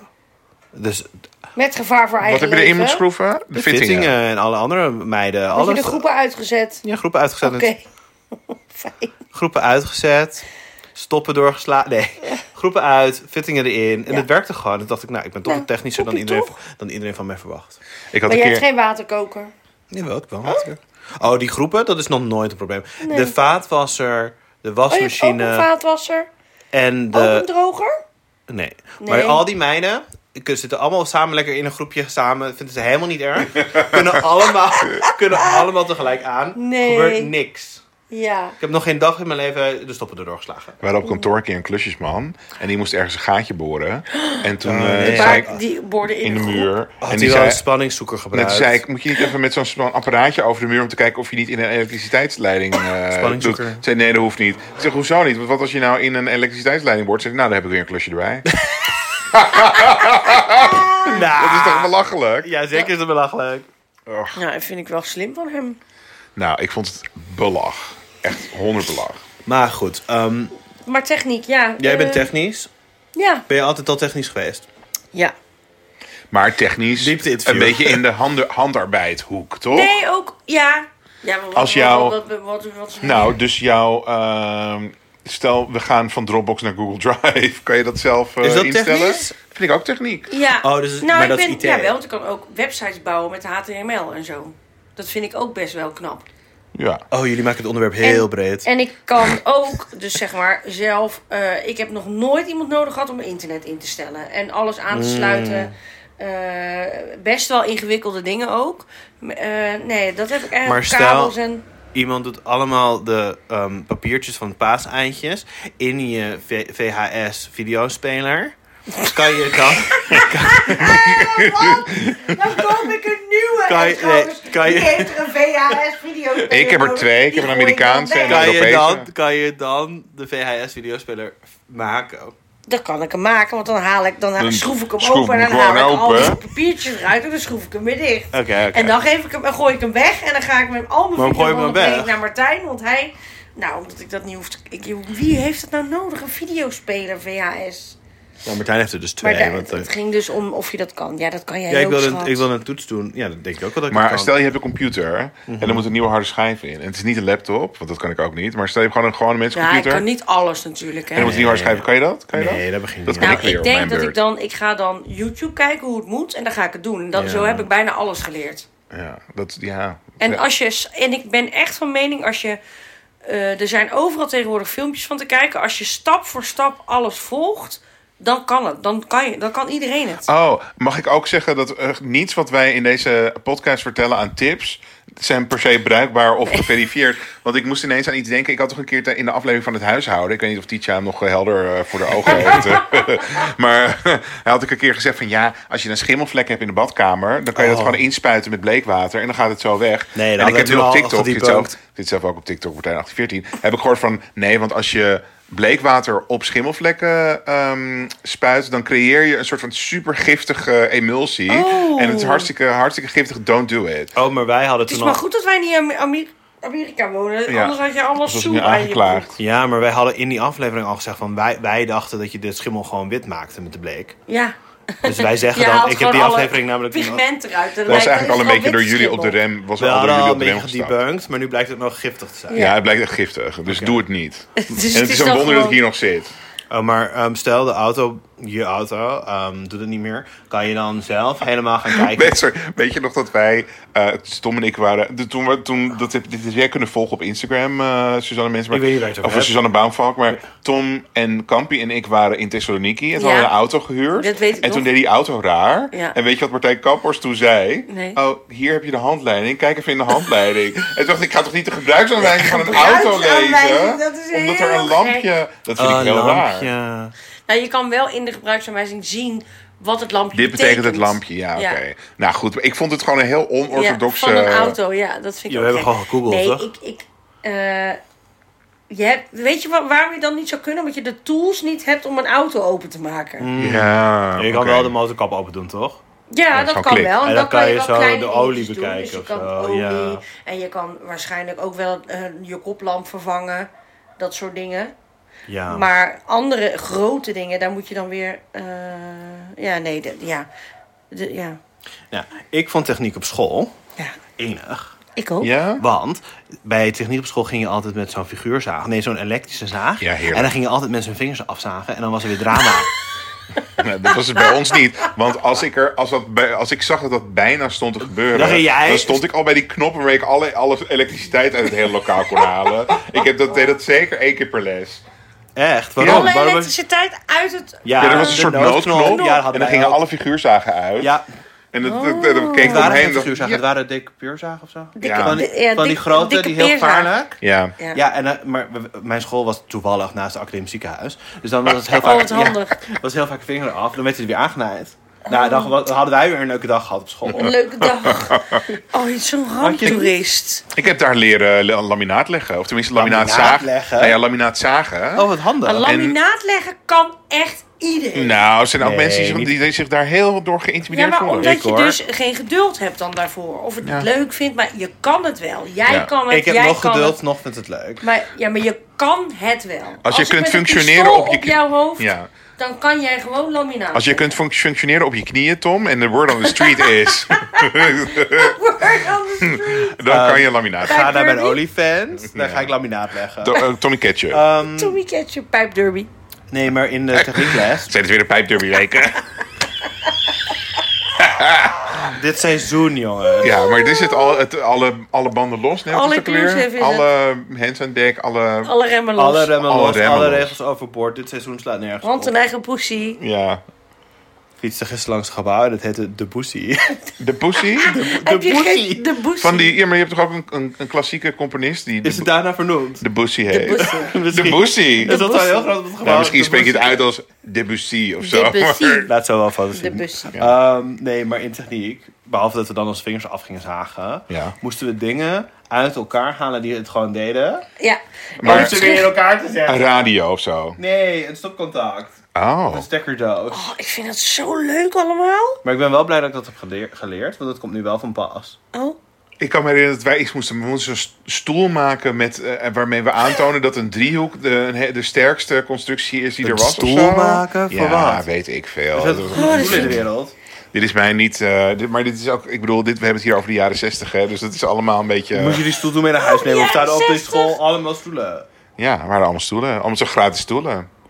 Dus de Met gevaar voor eigen Wat heb je leven. erin moeten schroeven? De, fittingen. fittingen. en alle andere meiden. Heb je Alles, de groepen uitgezet? Ja, groepen uitgezet. Oké. Fijn. Groepen uitgezet. Stoppen doorgeslagen. Nee, groepen uit, fittingen erin. En Ja. het werkte gewoon. En dacht ik, nou, ik ben toch Nou, wat technischer dan poepie iedereen, toch? dan iedereen van mij verwacht. Ik had Maar je een keer... hebt geen waterkoker. Jawel, ik wel. Oh, die groepen, dat is nog nooit een probleem. De vaatwasser, de Oh, je hebt ook wasmachine eh, een vaatwasser. en de... Ook een droger. Nee. Oh, Nee. Maar al die meiden ik- zitten allemaal samen lekker in een groepje samen. Vinden ze helemaal niet erg. kunnen, allemaal, kunnen allemaal tegelijk aan. Nee. Gebeurt niks. Ja. Ik heb nog geen dag in mijn leven de stoppen erdoor geslagen. We hadden op kantoor een keer een klusjesman. En die moest ergens een gaatje boren. En toen eh, nee. zei Waar ik... die borden in, In de groep. muur. Had en hij die wel zei... een spanningszoeker Net gebruikt? toen zei ik, moet je niet even met zo'n zo'n apparaatje over de muur om te kijken of je niet in een elektriciteitsleiding eh doet? Spanningzoeker. Ik zei, nee, dat hoeft niet. Ik zeg, hoezo niet? Want wat als je nou in een elektriciteitsleiding wordt? Zeg ik, nou, dan heb ik weer een klusje erbij. Nou, Dat is toch belachelijk? Ja, zeker is het belachelijk. Nou, dat vind ik wel slim van hem. Nou, ik vond het belach. Echt honderd belach. Maar goed, ehm, Maar techniek, ja. jij Eh, bent technisch. Ja. Ben je altijd al technisch geweest? Ja. Maar technisch Diepte interview. een beetje in de handen, handarbeidhoek, toch? Nee, ook... Ja. Ja, maar wat, Als jou- Wat, wat, wat, wat- wat- Nou, dus jouw... ehm, stel, we gaan van Dropbox naar Google Drive. Kan je dat zelf eh, Is dat instellen? technisch? Vind ik ook techniek. Ja. Oh, dus- nou, maar ik dat is ben, IT. Ja, wel, want ik kan ook websites bouwen met HTML en zo. Dat vind ik ook best wel knap. Ja. Oh, jullie maken het onderwerp heel En- breed. En ik kan ook, dus zeg maar, zelf... eh, ik heb nog nooit iemand nodig gehad om mijn internet in te stellen. En alles aan te sluiten. Eh, best wel ingewikkelde dingen ook. M- eh, nee, dat heb ik echt. Maar stel- kabels en... Iemand doet allemaal de ehm, papiertjes van paaseindjes in je VHS-videospeler. Kan je dan... Dan koop ik een nieuwe. Kan je- En trouwens, nee, kan je- die heeft een VHS-video. Ik heb Oh, er twee. Ik heb een Amerikaanse en Kan je, Europese. dan, kan je dan de VHS-videospeler maken? Dan kan ik hem maken, want dan haal ik, dan haal, Dan schroef ik hem schroef open en hem dan haal ik gewoon al open. die papiertjes eruit en dan schroef ik hem weer dicht. Oké, oké. En dan geef ik hem, en gooi ik hem weg en dan ga ik met al mijn Waarom gooi je videobanden hem dan breng ik weg? naar Martijn, want hij, nou, omdat ik dat niet hoef te, ik, wie heeft dat nou nodig, een videospeler VHS? Nou, Martijn heeft er dus Maar twee. daar- want, eh, het ging dus om of je dat kan. Ja, dat kan jij ja, ik ook, wil, een, schat. ik wil een toets doen. Ja, dat denk ik ook wel dat ik dat Maar kan. Mhm. stel je hebt een computer en er moet een nieuwe harde schijf in. En het is niet een laptop, want dat kan ik ook niet. Maar stel je hebt gewoon een gewone ja, ik mensencomputer kan niet alles natuurlijk, hè. en er moet een nieuwe harde schijf. in. Kan je dat? Kan je Nee, dat? dat begint Dat niet. kan Nou, ik weer ik op denk mijn dat ik beurt. dan, ik ga dan YouTube kijken hoe het moet en dan ga ik het doen. En dan, Ja. zo heb ik bijna alles geleerd. Ja, dat, ja. En, Ja. als je, en ik ben echt van mening, als je, eh, er zijn overal tegenwoordig filmpjes van te kijken. Als je stap voor stap alles volgt, dan kan het. Dan kan, je, dan kan iedereen het. Oh, mag ik ook zeggen dat eh, niets wat wij in deze podcast vertellen aan tips zijn per se bruikbaar of geverifieerd. Want ik moest ineens aan iets denken. Ik had toch een keer te- in de aflevering van het huishouden. Ik weet niet of Tietja hem nog eh, helder eh, voor de ogen heeft. maar hij had ik een keer gezegd van ja, als je een schimmelvlek hebt in de badkamer, dan kan je dat Oh. gewoon inspuiten met bleekwater en dan gaat het zo weg. Nee, dat en ik hadden heb we nu toen op al TikTok, dit zelf, gedebunkt. dit zelf ook op TikTok, Martijn 1814, heb ik gehoord van nee, want als je bleekwater op schimmelvlekken ehm, spuit, dan creëer je een soort van supergiftige emulsie. Oh. En het is hartstikke, hartstikke giftig, don't do it. Oh, maar wij hadden het toen is al... maar goed dat wij niet in Amer- Amerika wonen. Ja. Anders had je allemaal Dat was soep nu aan je broek. aangeklaagd. Ja, maar wij hadden in die aflevering al gezegd van wij, wij dachten dat je de schimmel gewoon wit maakte met de bleek. Ja. Dus wij zeggen Je haalt dan, ik heb die gewoon alle aflevering namelijk niet- Pigment eruit. Dat was eigenlijk al een beetje door jullie op de rem. Was We al door hadden jullie op al een de beetje rem gestapt. gedebunked, maar nu blijkt het nog giftig te zijn. Ja. Ja, het blijkt echt giftig. Dus doe het niet. Dus en het is een dan wonder dat ik gewoon- hier nog zit. Oh, maar ehm, stel de auto, je auto, ehm, doet het niet meer. Kan je dan zelf helemaal gaan kijken? Weet, sorry, weet je nog dat wij, eh Tom en ik waren, de- toen, we, toen dat heb, dit is jij kunnen volgen op Instagram, eh Suzanne Mensen. maar- Ik weet niet waar je het over Of hebt. Suzanne Baumvalk, maar Tom en Kampi en ik waren in Thessaloniki en toen Ja. hadden we een auto gehuurd. Dat weet ik en toen nog. deed die auto raar. Ja. En weet je wat Martijn Kappers toen zei? Nee. Oh, hier heb je de handleiding, kijk even in de handleiding. en toen dacht ik, ik ga toch niet de gebruiksaanwijzing van een auto gebruiksaanwijzing, lezen? dat is omdat heel er een lampje, dat vind ik Oh, heel lampje. raar. Nou, je kan wel in de gebruiksaanwijzing zien wat het lampje Dit betekent. betekent het lampje, ja, oké. Nou goed, ik vond het gewoon een heel onorthodoxe... Ja, van een auto, ja, dat vind ik Ja, ook we gek. hebben gewoon gegoogeld, Nee, toch? ik... ik eh, je hebt, weet je wa- waarom je dan niet zou kunnen? Omdat je de tools niet hebt om een auto open te maken. Mm. Hmm. Ja, Je kan oké. wel de motorkap open doen, toch? Ja, dat dat kan kan klikken. wel. En, En dan kan je wel zo kleine de olie dingetjes doen. Dus bekijken je of kan zo, olie ja. en je kan waarschijnlijk ook wel eh, je koplamp vervangen. Dat soort dingen. Ja. Maar andere grote dingen, daar moet je dan weer... eh, ja, nee, de- ja. De- ja. Ja, ik vond techniek op school ja. enig. Ik ook. Ja? Want bij techniek op school ging je altijd met zo'n figuurzaag. Nee, zo'n elektrische zaag. Ja, heerlijk. en dan ging je altijd met zijn vingers afzagen. En dan was er weer drama. Nou, dat was het bij ons niet. Want als ik, er, als, dat bij, als ik zag dat dat bijna stond te gebeuren... Dan ging jij- dan stond ik al bij die knop waarmee ik alle, alle elektriciteit uit het hele lokaal kon halen. Ik heb dat, deed dat zeker één keer per les. Echt? Waarom? Alle Waarom- elektriciteit uit het... Ja, er was een de soort noodknop Ja, dat en hadden dan wij gingen ook. alle figuurzagen uit. Ja, En dat, dat, dat, dat keek het waren geen omheen. figuurzagen. Het ja, waren dikke puurzagen of zo. Dikke- Van die, di- ja, van die dik- grote, dikke die heel peerzaag. gevaarlijk. ja. Ja. Ja, en, eh, maar we- we- mijn school was toevallig naast het academisch ziekenhuis. Dus dan was het heel Oh, vaak, wat handig. Ja, was heel vaak vinger eraf. Dan werd hij er weer aangenaaid. Nou, Oh. dan wa- dan hadden wij weer een leuke dag gehad op school. Een leuke dag. Oh, je is zo'n ramptoerist. Ik heb daar leren la- laminaat leggen. Of tenminste laminaat, Laminaat zagen. leggen? Nou ja, laminaat zagen. Oh, wat handig. Een laminaat leggen kan echt iedereen. Nou, er zijn ook Nee, mensen die, zich- niet. die, zich daar heel door Ja, geïntimideerd maar voelen. omdat Ik, je hoor. dus geen geduld hebt dan daarvoor. Of het niet leuk vindt, maar je kan het wel. Jij Ja. kan het, ik heb jij nog kan geduld, het. nog vind het leuk. Maar, ja, maar je kan het wel. Als je ik kunt met een functioneren pistool op je- jouw hoofd... Ja. dan kan jij gewoon laminaat. Als je kunt func- functioneren op je knieën, Tom, en de word on the street is, Word on the Hmm. street. dan kan je laminaat. Ga naar mijn Derby. OnlyFans. Daar ga ik laminaat leggen. To- eh, Tommy Ketchup. Ehm, Tommy Ketchup, pijp derby. nee, maar in de techniekles. Zijn het weer de pijpderby weken? Dit seizoen, jongen. ja, maar dit zit al, het, alle, alle banden los. Nee, wat Alle is het ook alweer? inclusive is Alle hands aan dek, alle... Alle remmen los. Alle remmen Alle los, remmen alle los. regels overboord. Dit seizoen slaat nergens Want een op. eigen poesie. Ja. Fietste gisteren langs het gebouw en dat heette De Boesie. De pussy? Heb je poesie. geen- De poesie. Van die, ja, maar je hebt toch ook een, een, een klassieke componist die Is het de, daarna vernoemd? de pussy heet? poesie. De pussy? Is dat wel heel groot op het gebouw? Nou, misschien De spreek je het Boesie. uit als Debussy of zo. De pussy. Laat zo wel foto's De zien. bus. Ehm, nee, maar in techniek, behalve dat we dan onze vingers af gingen zagen, Ja. moesten we dingen uit elkaar halen die het gewoon deden. Ja. Maar Maar om ze weer in elkaar te een zetten. radio of zo. Nee, een stopcontact. Oh. Een stekkerdoos. Oh, ik vind dat zo leuk allemaal. Maar ik ben wel blij dat ik dat heb geleer- geleerd, want dat komt nu wel van pas. Oh. Ik kan me herinneren dat wij iets moesten, we moesten een st- stoel maken met, eh, waarmee we aantonen dat een driehoek de, een he- de sterkste constructie is die Een er was. of stoel zo. maken? Voor ja, wat? weet ik veel. Dus dat Oh, Dat is was- dat een is doel in de goed. wereld. dit is mij niet, eh, dit, maar dit is ook, ik bedoel, dit, we hebben het hier over de jaren zestig, hè, dus dat is allemaal een beetje, Moet je die stoel toen mee naar huis nemen? Oh, ja, Of staan er op de 60. school allemaal stoelen? ja, het waren allemaal stoelen, allemaal zo gratis stoelen.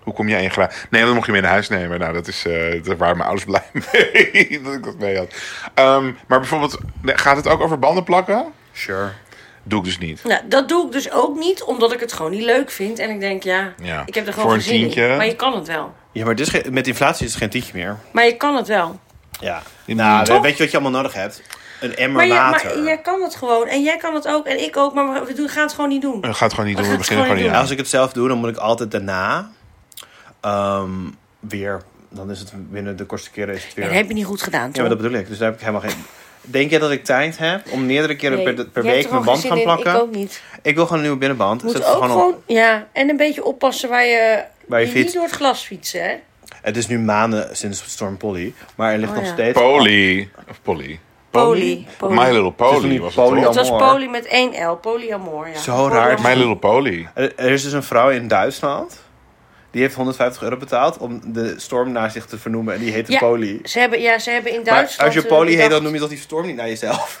Hoe kom je één gratis? Nee, dan mocht je mee naar huis nemen. Nou, dat is, eh, daar waren mijn ouders blij mee dat ik dat mee had. Ehm, maar bijvoorbeeld, gaat het ook over banden plakken? Sure. Doe ik dus niet. Nou, dat doe ik dus ook niet, omdat ik het gewoon niet leuk vind. En ik denk, ja, Ja. ik heb er Voor gewoon een geen zin in. tientje. Maar je kan het wel. Ja, maar dit is geen- met inflatie is het geen tientje meer. Maar je kan het wel. Ja. Nou, Toch? weet je wat je allemaal nodig hebt? Een emmer Maar, je, water. maar jij kan het gewoon. En jij kan het ook. En ik ook. Maar we- we doen- gaan het gewoon niet doen. Eh, Ga het gewoon niet We gaan doen, we het beginnen gewoon gewoon niet niet aan. doen. Als ik het zelf doe, dan moet ik altijd daarna ehm, weer. Dan is het binnen de kortste keren is het weer. En dat heb je niet goed gedaan, Ja, toch? maar dat bedoel ik. Dus daar heb ik helemaal geen. Denk je dat ik tijd heb om meerdere keren Nee, per, per jij hebt week er gewoon mijn band geen gaan zin in. plakken? Ik ook niet. Ik wil gewoon een nieuwe binnenband. Moet Zet ook het, gewoon... gewoon op. Ja, en een beetje oppassen waar je... Waar je fietst. niet door het glas fietsen, hè? het is nu maanden sinds Storm Polly, maar er ligt Oh, nog ja. steeds. Polly. Of Polly. Poly. Poly. My Little Het is Polly niet was Polly, het Het toch? was Amor. poly met één L. Polyamor, ja. Zo raar. My Little Polly. Er, er is dus een vrouw in Duitsland. Die heeft 150 euro betaald om de storm naar zich te vernoemen. En die heette Ja. Polly. Ze hebben, ja, ze hebben in Maar Duitsland... als je eh, Polly heet, bedacht- dan noem je toch die storm niet naar jezelf?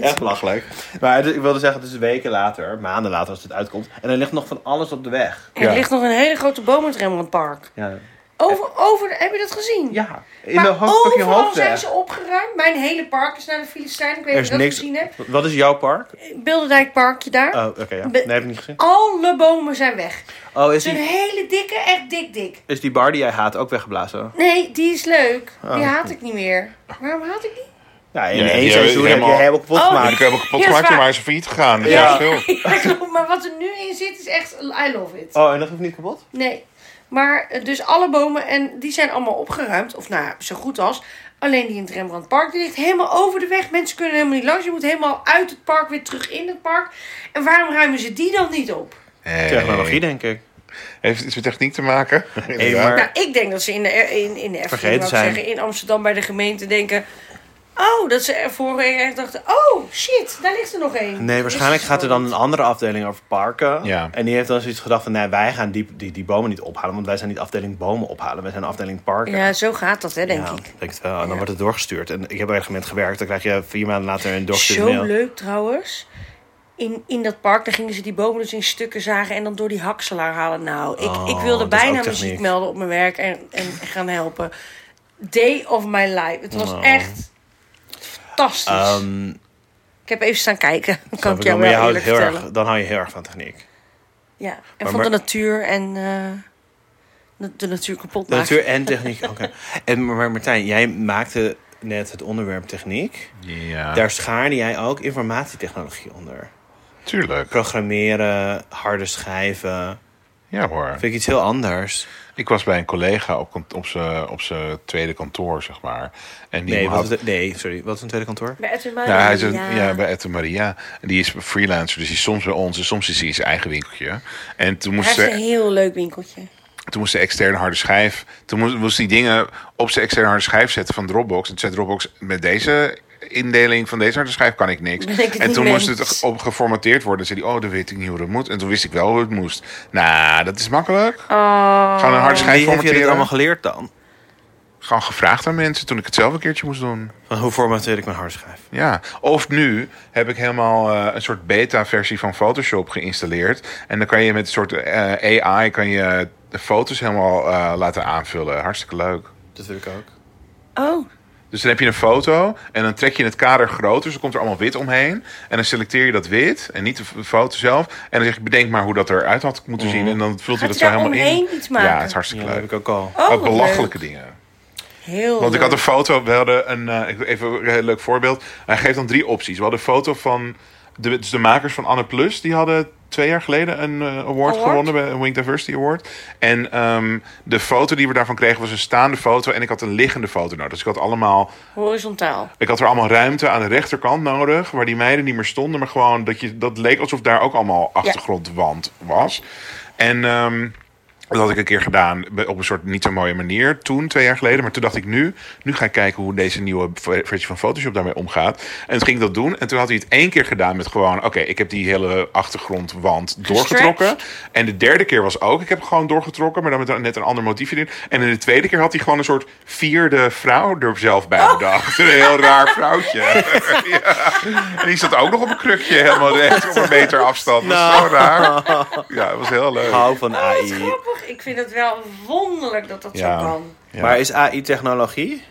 Echt belachelijk. Maar het- ik wilde zeggen, het is weken later, maanden later als het uitkomt. En er ligt nog van alles op de weg. Er Ja. ligt nog een hele grote boom in het Rembrandtpark. Ja, Over, over, heb je dat gezien? ja in maar de hoofd van je overal hoofd. zijn ze opgeruimd. Mijn hele park is naar de Filistijn. Ik weet Er niet is of je dat niks. gezien hebt. Wat is jouw park? Bilderdijkparkje daar. Oh, oké, ja. Be- Nee, heb ik niet gezien. Alle bomen zijn weg. Oh, is Het is een die, hele dikke, echt dik dik. is die bar die jij haat ook weggeblazen? Nee, die is leuk. Die Oh. haat ik niet meer. Waarom haat ik die? Ja, in Ja, één die seizoen hebben heb je helemaal- helemaal kapot Oh, En gemaakt. ik heb hem kapot Ja, gemaakt, zwaar. toen waren ze failliet gegaan. Dat Ja. is het verschil. Ja, klopt. Maar wat er nu in zit is echt, I love it. Oh, en dat hoeft niet kapot? Nee. Maar eh, dus alle bomen, en die zijn allemaal opgeruimd. Of nou, ja, zo goed als. Alleen die in het Rembrandtpark, die ligt helemaal over de weg. Mensen kunnen helemaal niet langs. Je moet helemaal uit het park weer terug in het park. En waarom ruimen ze die dan niet op? Nee. Technologie, denk ik. Heeft iets met techniek te maken? Inderdaad. maar- Nou, ik denk dat ze in de, in, in de Efteling, Vergeten wou ik zijn. zeggen, in Amsterdam bij de gemeente denken... Oh, dat ze er vorige keer echt dachten... Oh, shit, daar ligt er nog één. Nee, waarschijnlijk Is gaat er dan niet. een andere afdeling over parken. Ja. En die heeft dan zoiets gedacht van... Nee, wij gaan die, die, die bomen niet ophalen. Want wij zijn niet afdeling bomen ophalen. Wij zijn afdeling parken. Ja, zo gaat dat, hè, denk Ja, ik. ik denk het wel. En dan wordt het doorgestuurd. En ik heb bij een gemeente gewerkt. Dan krijg je vier maanden later een doorgestuurd Zo dus mail. leuk trouwens. In, in dat park, daar gingen ze die bomen dus in stukken zagen en dan door die hakselaar halen. Nou, ik, Oh, ik wilde dat is bijna ook techniek. muziek melden op mijn werk en, en gaan helpen. Day of my life. Het was echt fantastisch. Nou. Ehm, ik heb even staan kijken. snap Kan ik wel, jou maar wel je houdt eerlijk heel vertellen. erg, dan hou je heel erg van techniek. Ja, en Maar- van maar- de natuur en eh, de, de natuur kapot De maken. natuur en techniek. Oké. En maar Martijn, jij maakte net het onderwerp techniek. Ja, Daar schaarde jij ook informatietechnologie onder. tuurlijk. Programmeren, harde schijven. Ja hoor. Vind ik iets heel anders. Ik was bij een collega op, kant- op zijn op zijn tweede kantoor, zeg maar. En die Nee, had... wat is de- nee, sorry. Wat is een tweede kantoor? Bij Edwin Muiden, Ja, hij is een- ja. ja, bij Ette Maria. En Die is freelancer, dus die is soms bij ons en soms is hij in zijn eigen winkeltje. En toen Hij moest heeft ze een heel leuk winkeltje. Toen moest de externe harde schijf. Toen moest, moest die dingen op zijn externe harde schijf zetten van Dropbox. En toen zei Dropbox met deze indeling van deze harde schijf kan ik niks. Ben ik het en niet toen mee moest het eens. op geformateerd worden. Zei die, oh, dan weet ik niet hoe dat moet. En toen wist ik wel hoe het moest. Nou, dat is makkelijk. Oh. Gewoon een harde schijf Wie heb je dit formateren. allemaal geleerd dan? Gewoon gevraagd aan mensen toen ik het zelf een keertje moest doen. Van hoe formateer ik mijn hardschijf? Ja, of nu heb ik helemaal eh, een soort beta-versie van Photoshop geïnstalleerd. En dan kan je met een soort eh, AI kan je de foto's helemaal eh, laten aanvullen. Hartstikke leuk. Dat wil ik ook. Oh. Dus dan heb je een foto en dan trek je het kader groter. Dus er komt er allemaal wit omheen. En dan selecteer je dat wit en niet de f- foto zelf. En dan zeg je, bedenk maar hoe dat eruit had moeten zien. En dan vult hij Mhm. Gaat hij dat zo daar helemaal in. omheen iets maken? Ja, het is Ja, hartstikke dat heb leuk. ik ook al. Oh, ook wat belachelijke dingen. leuk. Heel Want ik had een leuk. foto, we hadden een, eh, ik- even een heel leuk voorbeeld. Hij geeft dan drie opties. We hadden een foto van, de, dus de makers van Anne Plus, die hadden twee jaar geleden een eh, award, Award? gewonnen, bij een Wink Diversity Award. En ehm, de foto die we daarvan kregen was een staande foto en ik had een liggende foto nodig. Dus ik had allemaal, Horizontaal. ik had er allemaal ruimte aan de rechterkant nodig, waar die meiden niet meer stonden. Maar gewoon, dat, je, dat leek alsof daar ook allemaal achtergrondwand was. En... ehm, dat had ik een keer gedaan be- op een soort niet zo mooie manier toen, twee jaar geleden. Maar toen dacht ik nu, nu ga ik kijken hoe deze nieuwe ver- versie van Photoshop daarmee omgaat. En toen ging ik dat doen. En toen had hij het één keer gedaan met gewoon, oké, ik heb die hele achtergrondwand doorgetrokken. En de derde keer was ook, ik heb gewoon doorgetrokken, maar dan met een- net een ander motiefje erin. En in de tweede keer had hij gewoon een soort vierde vrouw er zelf Oh. bij bedacht. Een heel raar vrouwtje. ja. En die zat ook nog op een krukje helemaal recht op een meter afstand. Dat Nou. was zo raar. Ja, dat was heel leuk. Hou van Oh, wat AI. grappig. Ik vind het wel wonderlijk dat dat Ja. zo kan. Ja. Maar is AI technologie?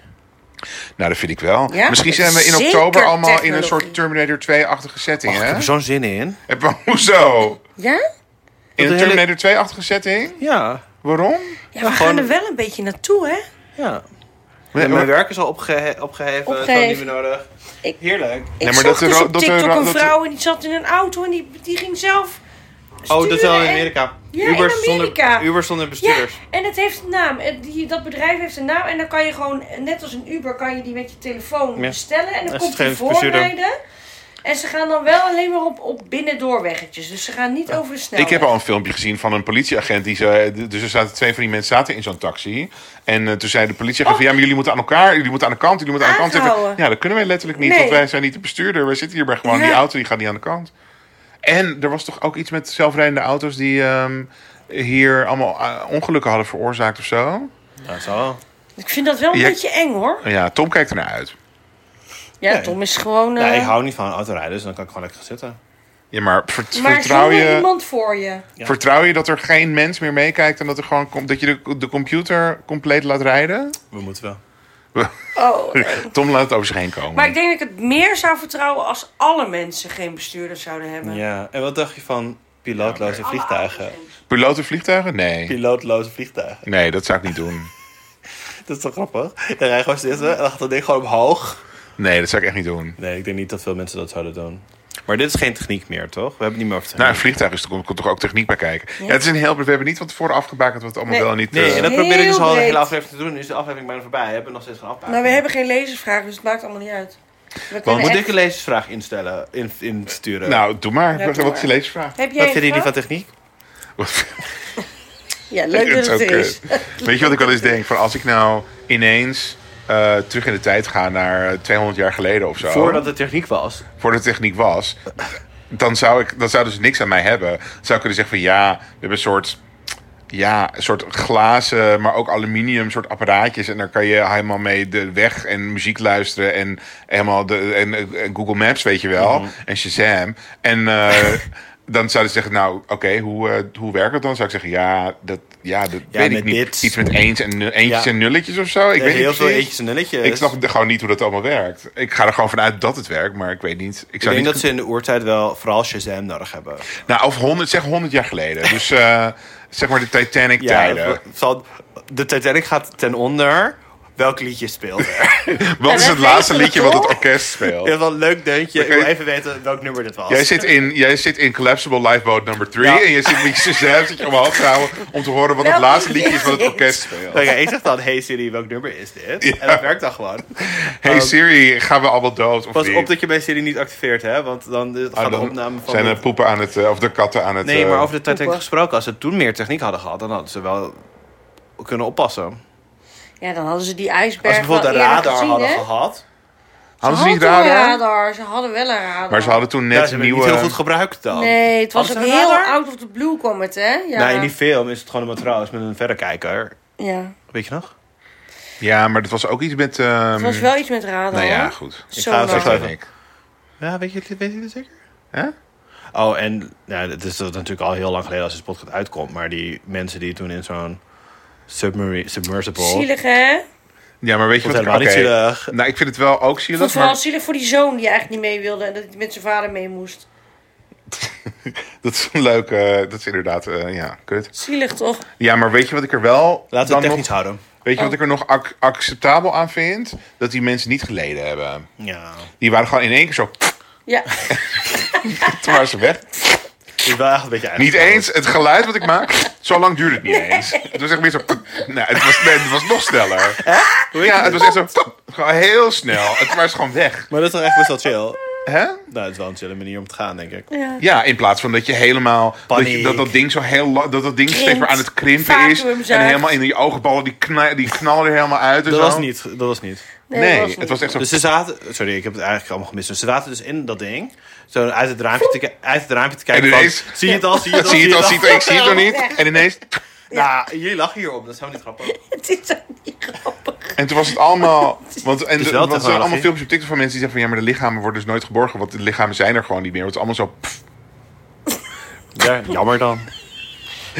Nou, dat vind ik wel. Ja? Misschien zijn we in Zeker oktober allemaal in een technologie. soort Terminator 2-achtige setting, Och, ik heb hè? er zo'n zin in. Heb- Hoezo? Ja? In een hele- Terminator 2-achtige setting? Ja, Waarom? Ja, we gaan er wel een beetje naartoe, hè? ja. Nee, mijn maar, werk is al opgehe- opgeheven. Het is al Opgeheven. niet meer nodig. Ik- Heerlijk. Ik maar zag dat de dus ro- op dat de TikTok ro- een dat- vrouw en die zat in een auto en die, die ging zelf sturen. Oh, dat is wel in en- Amerika. Ja, in Amerika. Zonder, Uber zonder Ja, bestuurders. en het heeft een naam. Het- die, dat bedrijf heeft een naam. En dan kan je gewoon, net als een Uber, kan je die met je telefoon Ja. bestellen. En dan Als komt het die geen bestuurder- voorrijden. En ze gaan dan wel alleen maar op, op binnendoorweggetjes. Dus ze gaan niet over de snelheid. ik heb al een filmpje gezien van een politieagent. Die zei, dus er zaten twee van die mensen zaten in zo'n taxi. En eh, toen zei de politieagent van... Ja, maar jullie moeten aan elkaar, jullie moeten aan de kant, jullie moeten aan de kant. Oh. Aangehouden. Even- Ja, dat kunnen wij letterlijk niet, Nee. want wij zijn niet de bestuurder. Wij zitten hier bij gewoon Ja. die auto, die gaat niet aan de kant. En er was toch ook iets met zelfrijdende auto's die ehm, hier allemaal eh, ongelukken hadden veroorzaakt of zo? Ja, zo. Ik vind dat wel een Ja. beetje eng hoor. Ja, Tom kijkt ernaar uit. Ja, Tom is gewoon. eh, Nee, ik hou niet van autorijden, dus dan kan ik gewoon lekker gaan zitten. Ja, maar, vert- maar vertrouw, zonder je, iemand voor je. Ja. vertrouw je dat er geen mens meer meekijkt en dat, er gewoon, komt- dat je de, de computer compleet laat rijden? We moeten wel. Oh. Tom laat het over zich heen komen. Maar ik denk dat ik het meer zou vertrouwen als alle mensen geen bestuurder zouden hebben. Ja, en wat dacht je van pilootloze Alle vliegtuigen? auto's geen. Piloten vliegtuigen? Nee. Pilootloze vliegtuigen. Nee, dat zou ik niet doen. Dat is toch grappig? Dan rij je gewoon zitten en dan gaat dat ding gewoon omhoog. Nee, dat zou ik echt niet doen. Nee, ik denk niet dat veel mensen dat zouden doen. Maar dit is geen techniek meer, toch? We hebben het niet meer over techniek. Nou, een vliegtuig is, er komt, komt toch ook techniek bij kijken. Ja, het is een heel... We hebben niet van tevoren afgebakend wat het allemaal Nee. wel en niet... nee, eh, en dat probeer ik dus Heel al de breed. hele aflevering te doen. Nu is de aflevering bijna voorbij. We hebben nog steeds geen aflevering. Maar we hebben geen lezersvraag, dus het maakt allemaal niet uit. We kunnen Moet echt- ik een lezersvraag instellen, in, insturen? Nou, doe maar. Ja, doe Wat- wat maar. is je Heb leesvraag? jij wat een vinden jullie vraag? van techniek? Ja, leuk dat het er is. Weet je wat ik wel eens denk? Van als ik nou ineens eh, terug in de tijd ga naar eh, 200 jaar geleden of zo. Voordat het techniek was. voor de techniek was, dan zou ik, dan zouden ze niks aan mij hebben. Dan zou ik kunnen zeggen van ja, we hebben een soort, ja, een soort glazen, maar ook aluminium soort apparaatjes. En daar kan je helemaal mee de weg en muziek luisteren en helemaal de en, eh, Google Maps, weet je wel, Mhm. en Shazam. En eh, dan zouden ze zeggen, nou, oké, hoe, eh, hoe werkt het dan? Zou ik zeggen, ja, dat, ja, dat weet ik met niet. dit. Iets met eens en nu- eentjes Ja. en nulletjes of zo. Ik weet niet heel veel precies. eentjes en nulletjes. Ik snap de- gewoon niet hoe dat allemaal werkt. Ik ga er gewoon vanuit dat het werkt, maar ik weet niet. Ik Ik zou denk niet dat ze in de oertijd wel vooral Shazam nodig hebben. Nou, of 100, zeg 100 jaar geleden. Dus eh, zeg maar de Titanic-tijden. Ja, zal- de Titanic gaat ten onder. Welk liedje speelt er? Wat is wij het laatste weten het liedje wat het toch? orkest Je hebt speelt? wel een leuk deuntje. Oké. Ik wil even weten welk nummer dit was. Jij zit, in, jij zit in Collapsible Lifeboat nummer 3 Ja. en je zit met jezelf zit je omhoog te houden om te horen wat het Welk laatste liedje liedje is wat het is? orkest speelt. Oké, ik zeg dan, hey Siri, welk nummer is dit? En dat werkt dan gewoon. Hey Siri, gaan we allemaal dood of Pas niet? Um, op dat je bij Siri niet activeert, hè? Want dan eh, Ah, gaat de dan opname van... zijn de- er poepen aan het, eh, of de katten aan het... Nee, eh, maar over de Titanic Poepen. gesproken. Als ze toen meer techniek hadden gehad, dan hadden ze wel kunnen oppassen. Ja, dan hadden ze die Als ijsberg ze wel bijvoorbeeld een eerder radar gezien, hadden hè? gehad... Hadden ze Ze niet hadden een radar? radar, Ze hadden wel een radar. Maar ze hadden toen Ja, net ze een hebben nieuwe... niet heel goed gebruikt dan. Nee, het was ook Hadden ze een heel radar? out of the blue kwam het, hè? Ja. Nou, in die film is het gewoon een matras met een verrekijker. ja. Weet je nog? Ja, maar dat was ook iets met... ehm, Het was wel iets met radar. Nou ja, hoor. goed. Zo ga Oh. het nou. zo Dat even- weet ik. Ja, weet je, weet je dat zeker? Hè? Oh, en nou, het is dat natuurlijk al heel lang geleden als deze podcast uitkomt. Maar die mensen die toen in zo'n submarine, submersible... Zielig, hè? Ja, maar weet je Vond wat... het helemaal niet oké. zielig. Nou, ik vind het wel ook Ik vond het zielig, vooral maar zielig voor die zoon die eigenlijk niet mee wilde en dat hij met zijn vader mee moest. dat is een leuke... Dat is inderdaad, eh, ja, kut. Zielig toch? Ja, maar weet je wat ik er wel... Laten dan we het nog, technisch houden. Weet je wat ik er nog ac- acceptabel aan vind? Dat die mensen niet geleden hebben. Ja. Die waren gewoon in één keer zo... Ja. Toen waren ze weg. Het is wel echt een beetje eigen. Niet eens het geluid wat ik maak. Zo lang duurde het niet eens. Het was echt meer zo... Nou, het was, nee, het was nog sneller. Ja, het was echt zo... Gewoon heel snel. Het was gewoon weg. Maar dat is dan echt best wel chill. Hè? Nou, het is wel een chille manier om te gaan, denk ik. ja. Ja, in plaats van dat je helemaal... Dat, je, Paniek. dat dat ding zo heel... la- Dat dat ding steeds maar aan het krimpen is. Vacuümzuig. En helemaal in die oogballen, die, kna- die knallen er helemaal uit en Dat zo. was niet. Dat was niet. Nee, niet. het was echt zo... Dus ze zaten... Sorry, ik heb het eigenlijk allemaal gemist. Dus ze zaten dus in dat ding. Zo uit het raampje te, ki- uit het raampje te kijken. En van, ineens- zie je het al? Zie je het al? Zie je het al, zie je het al, ik zie het nog Ja. niet. En ineens... Nou, jullie lachen hierom. Dat is helemaal niet grappig. Het is ook niet grappig. En toen was het allemaal. Want, en is de- wel want er zijn allemaal technologie. filmpjes op TikTok van mensen die zeggen van ja, maar de lichamen worden dus nooit geborgen. Want de lichamen zijn er gewoon niet meer. Want het is allemaal zo. pff. Ja, jammer dan.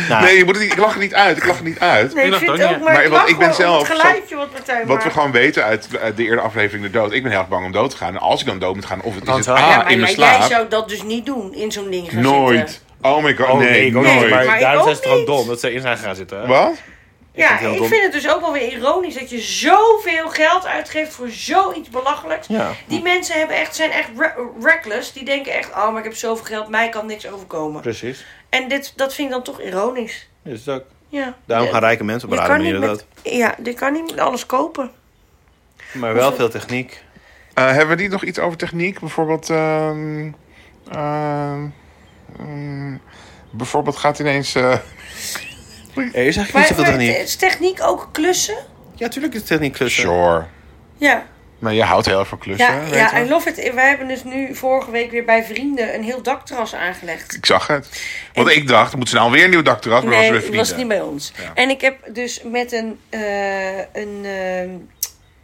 Nou, Nee, je moet het niet, ik lach er niet uit. Ik lach er niet uit. Nee, ik dacht vind ook het ook niet. maar, Maar ik wat lach ik ben wel om zelf Het geluidje wat Martijn Wat we maakt. gewoon weten uit eh, de eerdere aflevering de dood. Ik ben heel erg bang om dood te gaan. En als ik dan dood moet gaan, of het is Dan het zou- Ja, A maar in mijn jij- jij slaap. zou dat dus niet doen in zo'n ding gaan Nooit. zitten. Oh my god, Oh, nee, ik ook niet, nooit. Maar, Maar ik daarom ook zijn ze er ook niet. dom dat ze in zijn gaan zitten. Wat? Ja, vind het heel ik dom. vind het dus ook wel weer ironisch dat je zoveel geld uitgeeft voor zoiets belachelijks. Ja. Die mensen hebben echt, zijn echt re- reckless. Die denken echt, oh, maar ik heb zoveel geld, mij kan niks overkomen. Precies. En dit, dat vind ik dan toch ironisch. Dus ook. Ja. Daarom Ja, gaan rijke mensen op je rare kan niet manieren dat. met, Ja, je kan niet met alles kopen. Maar wel veel techniek. Eh, hebben we niet nog iets over techniek? Bijvoorbeeld. ehm, ehm, ehm, bijvoorbeeld gaat ineens. eh, Er is eigenlijk Maar, niet zoveel maar techniek. is techniek ook klussen? Ja, tuurlijk is techniek klussen. sure. Ja. Maar je houdt heel erg van klussen. Ja, weten we. ja I love it. Wij hebben dus nu vorige week weer bij vrienden een heel dakterras aangelegd. Ik zag het. Want ik dacht, moeten ze nou weer een nieuw dakterras? Maar Nee, was het weer was niet vrienden. bij ons. En ik heb dus met een, eh, een, eh, een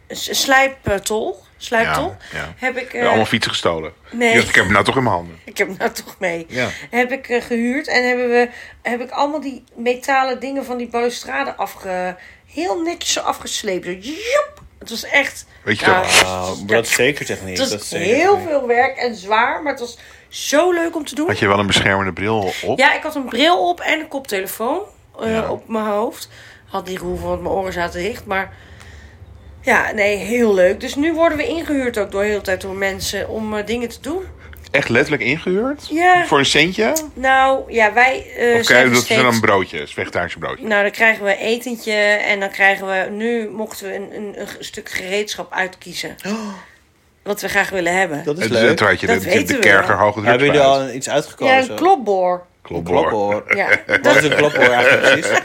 s- een slijptol, slijptol Ja, ja. heb ik... eh, En Allemaal fietsen gestolen. Nee. Ik dacht, ik heb hem nou toch in mijn handen. ik heb hem nou toch mee. Ja. Heb ik eh, gehuurd en hebben we, heb ik allemaal die metalen dingen van die balustrade afge, heel netjes zo afgesleept. Zo, joep. Het was echt... Weet je nou, toch? Wauw, maar dat is zeker techniek. Het dat is was zeker heel techniek. veel werk en zwaar, maar het was zo leuk om te doen. Had je wel een beschermende bril op? Ja, ik had een bril op en een koptelefoon eh, Ja. op mijn hoofd. Had niet gehoeven, want mijn oren zaten dicht. Maar ja, nee, heel leuk. Dus nu worden we ingehuurd ook door heel de tijd door mensen om eh, dingen te doen. Echt letterlijk ingehuurd? Ja. Voor een centje? Nou, ja, wij eh Of zijn krijgen dat zijn steeds- dan broodjes, vegetarische broodjes? Nou, dan krijgen we etentje en dan krijgen we... Nu mochten we een, een, een stuk gereedschap uitkiezen. Oh. Wat we graag willen hebben. Dat is En leuk. toen had je Dat de, de, weten de we kerker wel. hoge druk. Hebben jullie al iets uitgekozen? ja, een klopboor. Klophoor. Ja, Wat dat, is een klophoor eigenlijk precies?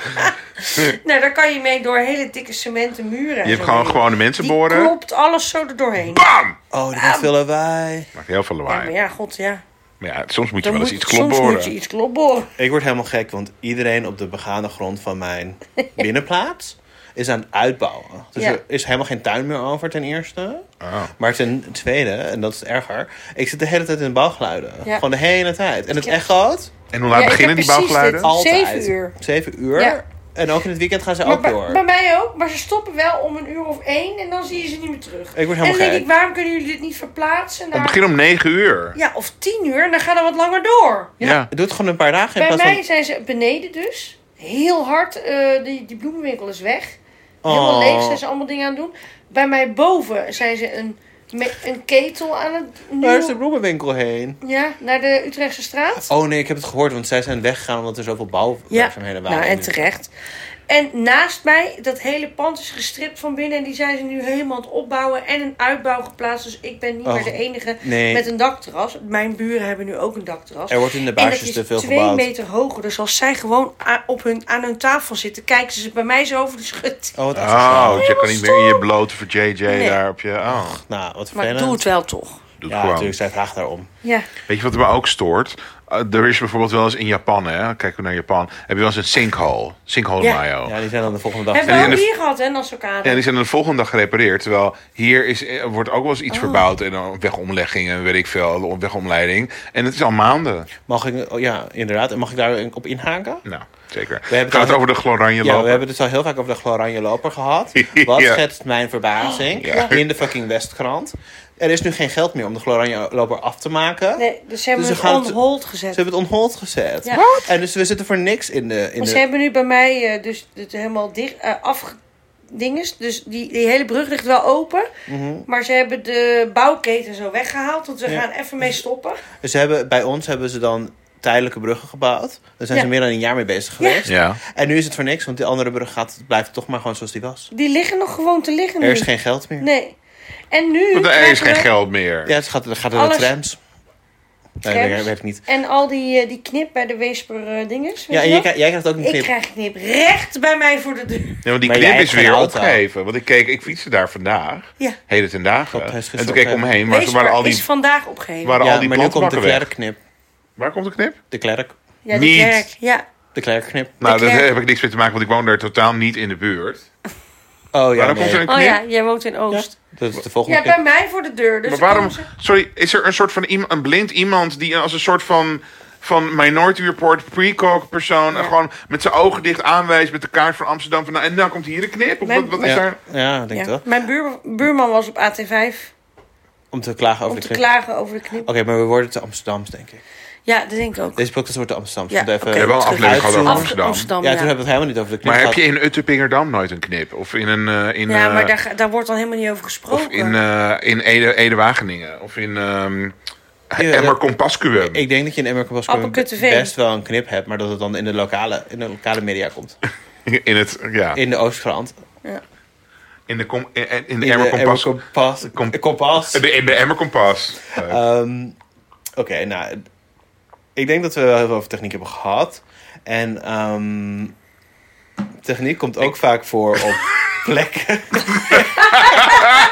nou, daar kan je mee door hele dikke cementen muren. en Je hebt zo gewoon heen. gewone Die mensen boren. klopt alles zo er doorheen. Bam! Oh, dat Ah. maakt veel lawaai. Maakt heel veel Ja, maar lawaai. ja, god, ja. Maar ja, soms moet je Dan wel moet, eens iets Soms moet je klopboren. iets klopboren. Ik word helemaal gek, want iedereen op de begane grond van mijn binnenplaats is aan het uitbouwen. Dus Ja. er is helemaal geen tuin meer over, ten eerste. Ah. Maar ten tweede, en dat is erger, ik zit de hele tijd in de bouwgeluiden. Ja. Gewoon de hele tijd. En het echoot En hoe laat Ja, ik beginnen heb die precies bouwgeluiden? dit al. altijd. Zeven uur. Zeven uur. Ja. En ook in het weekend gaan ze Maar ook bij, door. bij mij ook, maar ze stoppen wel om een uur of één en dan zie je ze niet meer terug. Ik en dan word helemaal denk gek. ik, waarom kunnen jullie dit niet verplaatsen Het naar... begint om 9 uur. Ja, of tien uur en dan gaat dat wat langer door. Ja. Doe het gewoon een paar dagen bij in plaats mij van... zijn ze beneden dus. Heel hard, eh, die, die bloemenwinkel is weg. Oh. Helemaal leeg zijn ze allemaal dingen aan het doen. Bij mij boven zijn ze een, met een ketel aan het... Waar is de nieuw- bloemenwinkel heen? Ja, naar de Utrechtse straat. Oh nee, ik heb het gehoord, want zij zijn weggegaan omdat er zoveel bouwwerkzaamheden waren. nou en in die- terecht. En naast mij, dat hele pand is gestript van binnen. En die zijn ze nu helemaal aan het opbouwen. En een uitbouw geplaatst. Dus ik ben niet Oh, meer de enige nee. met een dakterras. Mijn buren hebben nu ook een dakterras. Er wordt in de En baarsjes dat is te veel twee gebouwd. meter hoger. Dus als zij gewoon a- op hun, aan hun tafel zitten, kijken ze bij mij zo over de schut. Oh, wat Oh, afgeslagen. dus je kan niet meer in je blote voor JJ Nee. daar op je... Oh, Nou, wat Maar vervelend. doe het wel toch. doe het Ja, gewoon. natuurlijk, zij vraagt daarom. Ja. Weet je wat me ook stoort? Eh, er is bijvoorbeeld wel eens in Japan, hè. Kijken we naar Japan. Heb je wel eens een sinkhole. Sinkhole Ja. Mayo. Ja, die zijn dan de volgende dag. Hebben we en ook de- hier gehad, hè, Nassaukade? Ja, die zijn dan de volgende dag gerepareerd. Terwijl hier is, eh, wordt ook wel eens iets Oh. verbouwd. En dan wegomlegging en weet ik veel. Wegomleiding. En het is al maanden. Mag ik, oh, ja, inderdaad. En mag ik daar op inhaken? Nou, zeker. We hebben het hebben het al- over de gloranje Ja, we lopen. hebben het al heel vaak over de Gloranje Loper gehad. Wat Ja. schetst mijn verbazing Ja. in de fucking Westkrant. Er is nu geen geld meer om de Gloranje Loper af te maken. Nee, dus ze hebben Dus dus ze gaan on het- hold gezet. Ze hebben het on hold gezet. Ja. En dus we zitten voor niks in de... In Maar de... ze hebben nu bij mij eh, dus het helemaal dicht eh afgedinges. Dus die, die hele brug ligt wel open. Maar ze hebben de bouwketen zo weggehaald. Want we Ja. gaan even mee stoppen. Dus ze hebben, bij ons hebben ze dan tijdelijke bruggen gebouwd. Daar zijn Ja. ze meer dan een jaar mee bezig Ja. geweest. Ja. En nu is het voor niks, want die andere brug gaat, blijft toch maar gewoon zoals die was. Die liggen nog gewoon te liggen Er is nu. geen geld meer. Nee. En nu Want er is krijgen geen we- geld meer. Ja, het gaat, gaat er Alles- de trams. Nee, Trams. dat weet ik niet. En al die, eh, die knip bij de Weesper eh dinges. weet Ja, je en jij, nog? krijgt- jij krijgt ook een Ik knip. krijg knip recht bij mij voor de deur. Ja, want die Maar knip jij is hebt weer geen auto. opgegeven. Want ik keek, ik fietste daar vandaag. Ja. Heden ten dagen. Dat is En toen gezocht, keek ik hè. omheen. Maar toen waren al Weesper is die, vandaag opgegeven. waren al Ja, die maar nu komt de plantbakken weg. klerkknip. Waar komt de knip? De klerk. Ja, die Niet. kerk. Ja. De klerkknip. Nou, daar klerk. heb ik niks mee te maken, want ik woon daar totaal niet in de buurt. Oh ja, waarom nee. komt er een knip? Oh ja, jij woont in Oost. Dat is de volgende Ja, knip. bij mij voor de deur. Dus Maar waarom, onze- sorry, is er een soort van iem- een blind iemand die als een soort van, van Minority Report pre-coke persoon en gewoon met zijn ogen dicht aanwijst met de kaart van Amsterdam van nou, en dan komt hier een knip? Of Mijn- wat, wat is Ja, daar? ja, ik denk Ja. dat. Mijn buur- buurman was op AT5 Om te klagen over om de te knip. klagen over de knip. Oké, maar we worden te Amsterdams, denk Oh. ik. Ja, dat denk ik ook. Deze podcast wordt te Amsterdams. Ja, want even- oké. We hebben wel een aflevering gehad over Af- Amsterdam. Amsterdam, Ja, ja. toen hebben we het helemaal niet over de knip Maar heb gehad. je in Uttepingerdam nooit een knip? Of in een... eh, in, Ja, maar eh, daar, ga- daar wordt dan helemaal niet over Of gesproken. in, eh, in Ede, Ede-Wageningen. Of in ehm Ja, Emmer dat- Compascuum. Ik denk dat je in Emmerkamp Appelkut TV. best wel een knip hebt, maar dat het dan in de lokale, in de lokale media komt. In het, ja. In de Oostgrand. In de, com, in, in de In Emmer Compas. Emmerkompas. Kom- Kompas. De- In de Emmer Compas. Eh, Ehm, Oké, nou. Ik denk dat we wel heel veel over techniek hebben gehad. En ehm, techniek komt ook vaak voor op plekken,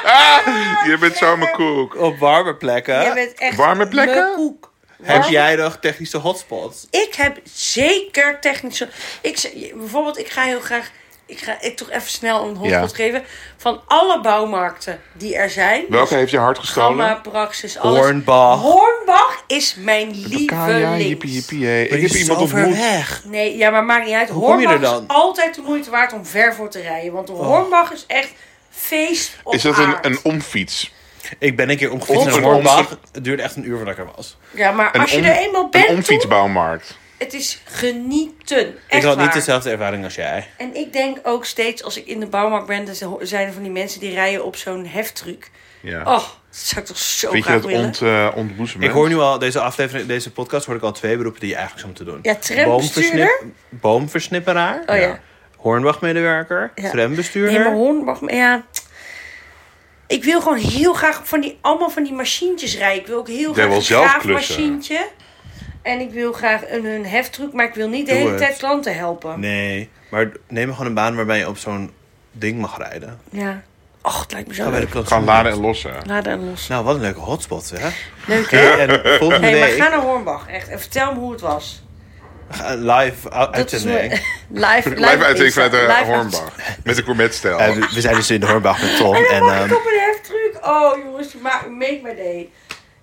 Eh, je bent zo mijn koek. op warme plekken. Jij bent echt Warme plekken? mijn koek. Heb Warm- jij nog technische hotspots? Ik heb zeker technische... Ik, z- bijvoorbeeld, ik ga heel graag... Ik ga ik toch even snel een hotspot Ja. geven. Van alle bouwmarkten die er zijn. Welke heeft je hart gestolen? Gamma, Praxis, alles. Hornbach. Hornbach is mijn Kaya, lieveling. jippie, jippie, hey. Maar Ik die heb is iemand zo ver ontmoet. weg. Nee, ja, maar maakt niet uit. Hoe kom je er Hornbach dan? Oh. is altijd de moeite waard om ver voor te rijden. Want de Hornbach is echt feest op Is dat een, aard. een omfiets? Ik ben een keer omgefietst Ons- naar Hornbach. Het duurde echt een uur voordat ik er was. Ja, maar Een als je om- er eenmaal Een bent, toe, omfietsbouwmarkt. het is genieten. Echt ik had niet waar. dezelfde ervaring als jij. En ik denk ook steeds, als ik in de bouwmarkt ben... dan zo- zijn er van die mensen die rijden op zo'n heftruc. Ja. Oh, dat zou ik toch zo Vind je graag dat willen. ont, eh ontboezemen? Ik hoor nu al, deze aflevering, deze podcast, hoor ik al twee beroepen die je eigenlijk zou moeten doen. Ja, trambestuurder. Boomversnip- boomversnipperaar. Oh ja. Hornwachtmedewerker. Ja. Nee, Trambestuurder. maar Hornbach... maar Ja, ik wil gewoon heel graag van die, allemaal van die machientjes rijden. Ik wil ook heel Jij wil graag een zelf klussen. graafmachientje. En ik wil graag een, een heftruc, maar ik wil niet de Doe hele het. tijd klanten helpen. Nee, maar neem gewoon een baan waarbij je op zo'n ding mag rijden. Ja. Och, het lijkt me Ga zo bij leuk. de klant. Gaan laden en lossen. Laden en los. Nou, wat een leuke hotspot, hè? Leuk, hè? En volgende Hey, maar week ga naar Hornbach, echt. En vertel me hoe het was. ga- eh, live u- mijn- uitzending. live, live, Live uitzending Insta- vanuit de live uit- Hornbach. Met een gourmetstijl. Eh, we- we zijn dus in de Hornbach met Tom. En En, dan Oh, mag ehm, ik op een heftruc. Oh, jongens, je ma- make my day.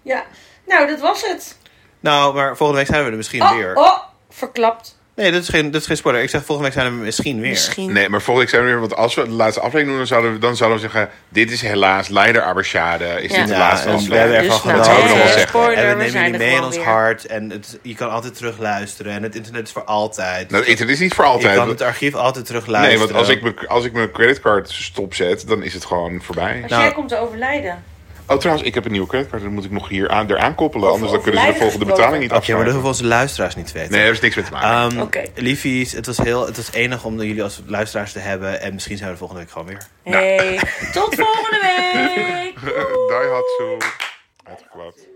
Ja. Nou, dat was het. nou, maar volgende week zijn we er misschien Oh, weer. oh verklapt. Nee, dat is, geen, dat is geen spoiler. Ik zeg volgende week zijn we misschien weer. Misschien. Nee, maar volgende keer zijn we weer. Want als we de laatste aflevering doen, dan zouden we, dan zouden we zeggen: Dit is helaas leider Abershade. Is Ja. dit de Ja, laatste en we aflevering? hebben ervan Dus nou, genoten. dat zouden we nog wel eh, en- zeggen. Spoiler, en we we nemen zijn jullie er mee in gewoon ons weer. hart. En het, je kan altijd terugluisteren. En het internet is voor altijd. Nou, het internet is niet voor je kan het eh, altijd. archief altijd Nee, terugluisteren. want als ik, mijn- als ik mijn creditcard stopzet, dan is het gewoon voorbij. Als Nou. jij komt te overlijden. Oh, trouwens, ik heb een nieuwe creditcard. Dat moet ik nog hier aan, eraan koppelen. Over- Anders dan over kunnen ze de lijden volgende gesproken. betaling niet Oké, maar afsluiten. dat hoeven onze luisteraars niet te weten. Nee, daar is niks mee te maken. Ehm, Oké. Liefies, het was, heel, het was enig om jullie als luisteraars te hebben. En misschien zijn we de volgende week gewoon weer. Hey, tot volgende week! Die had zo uitgeklapt.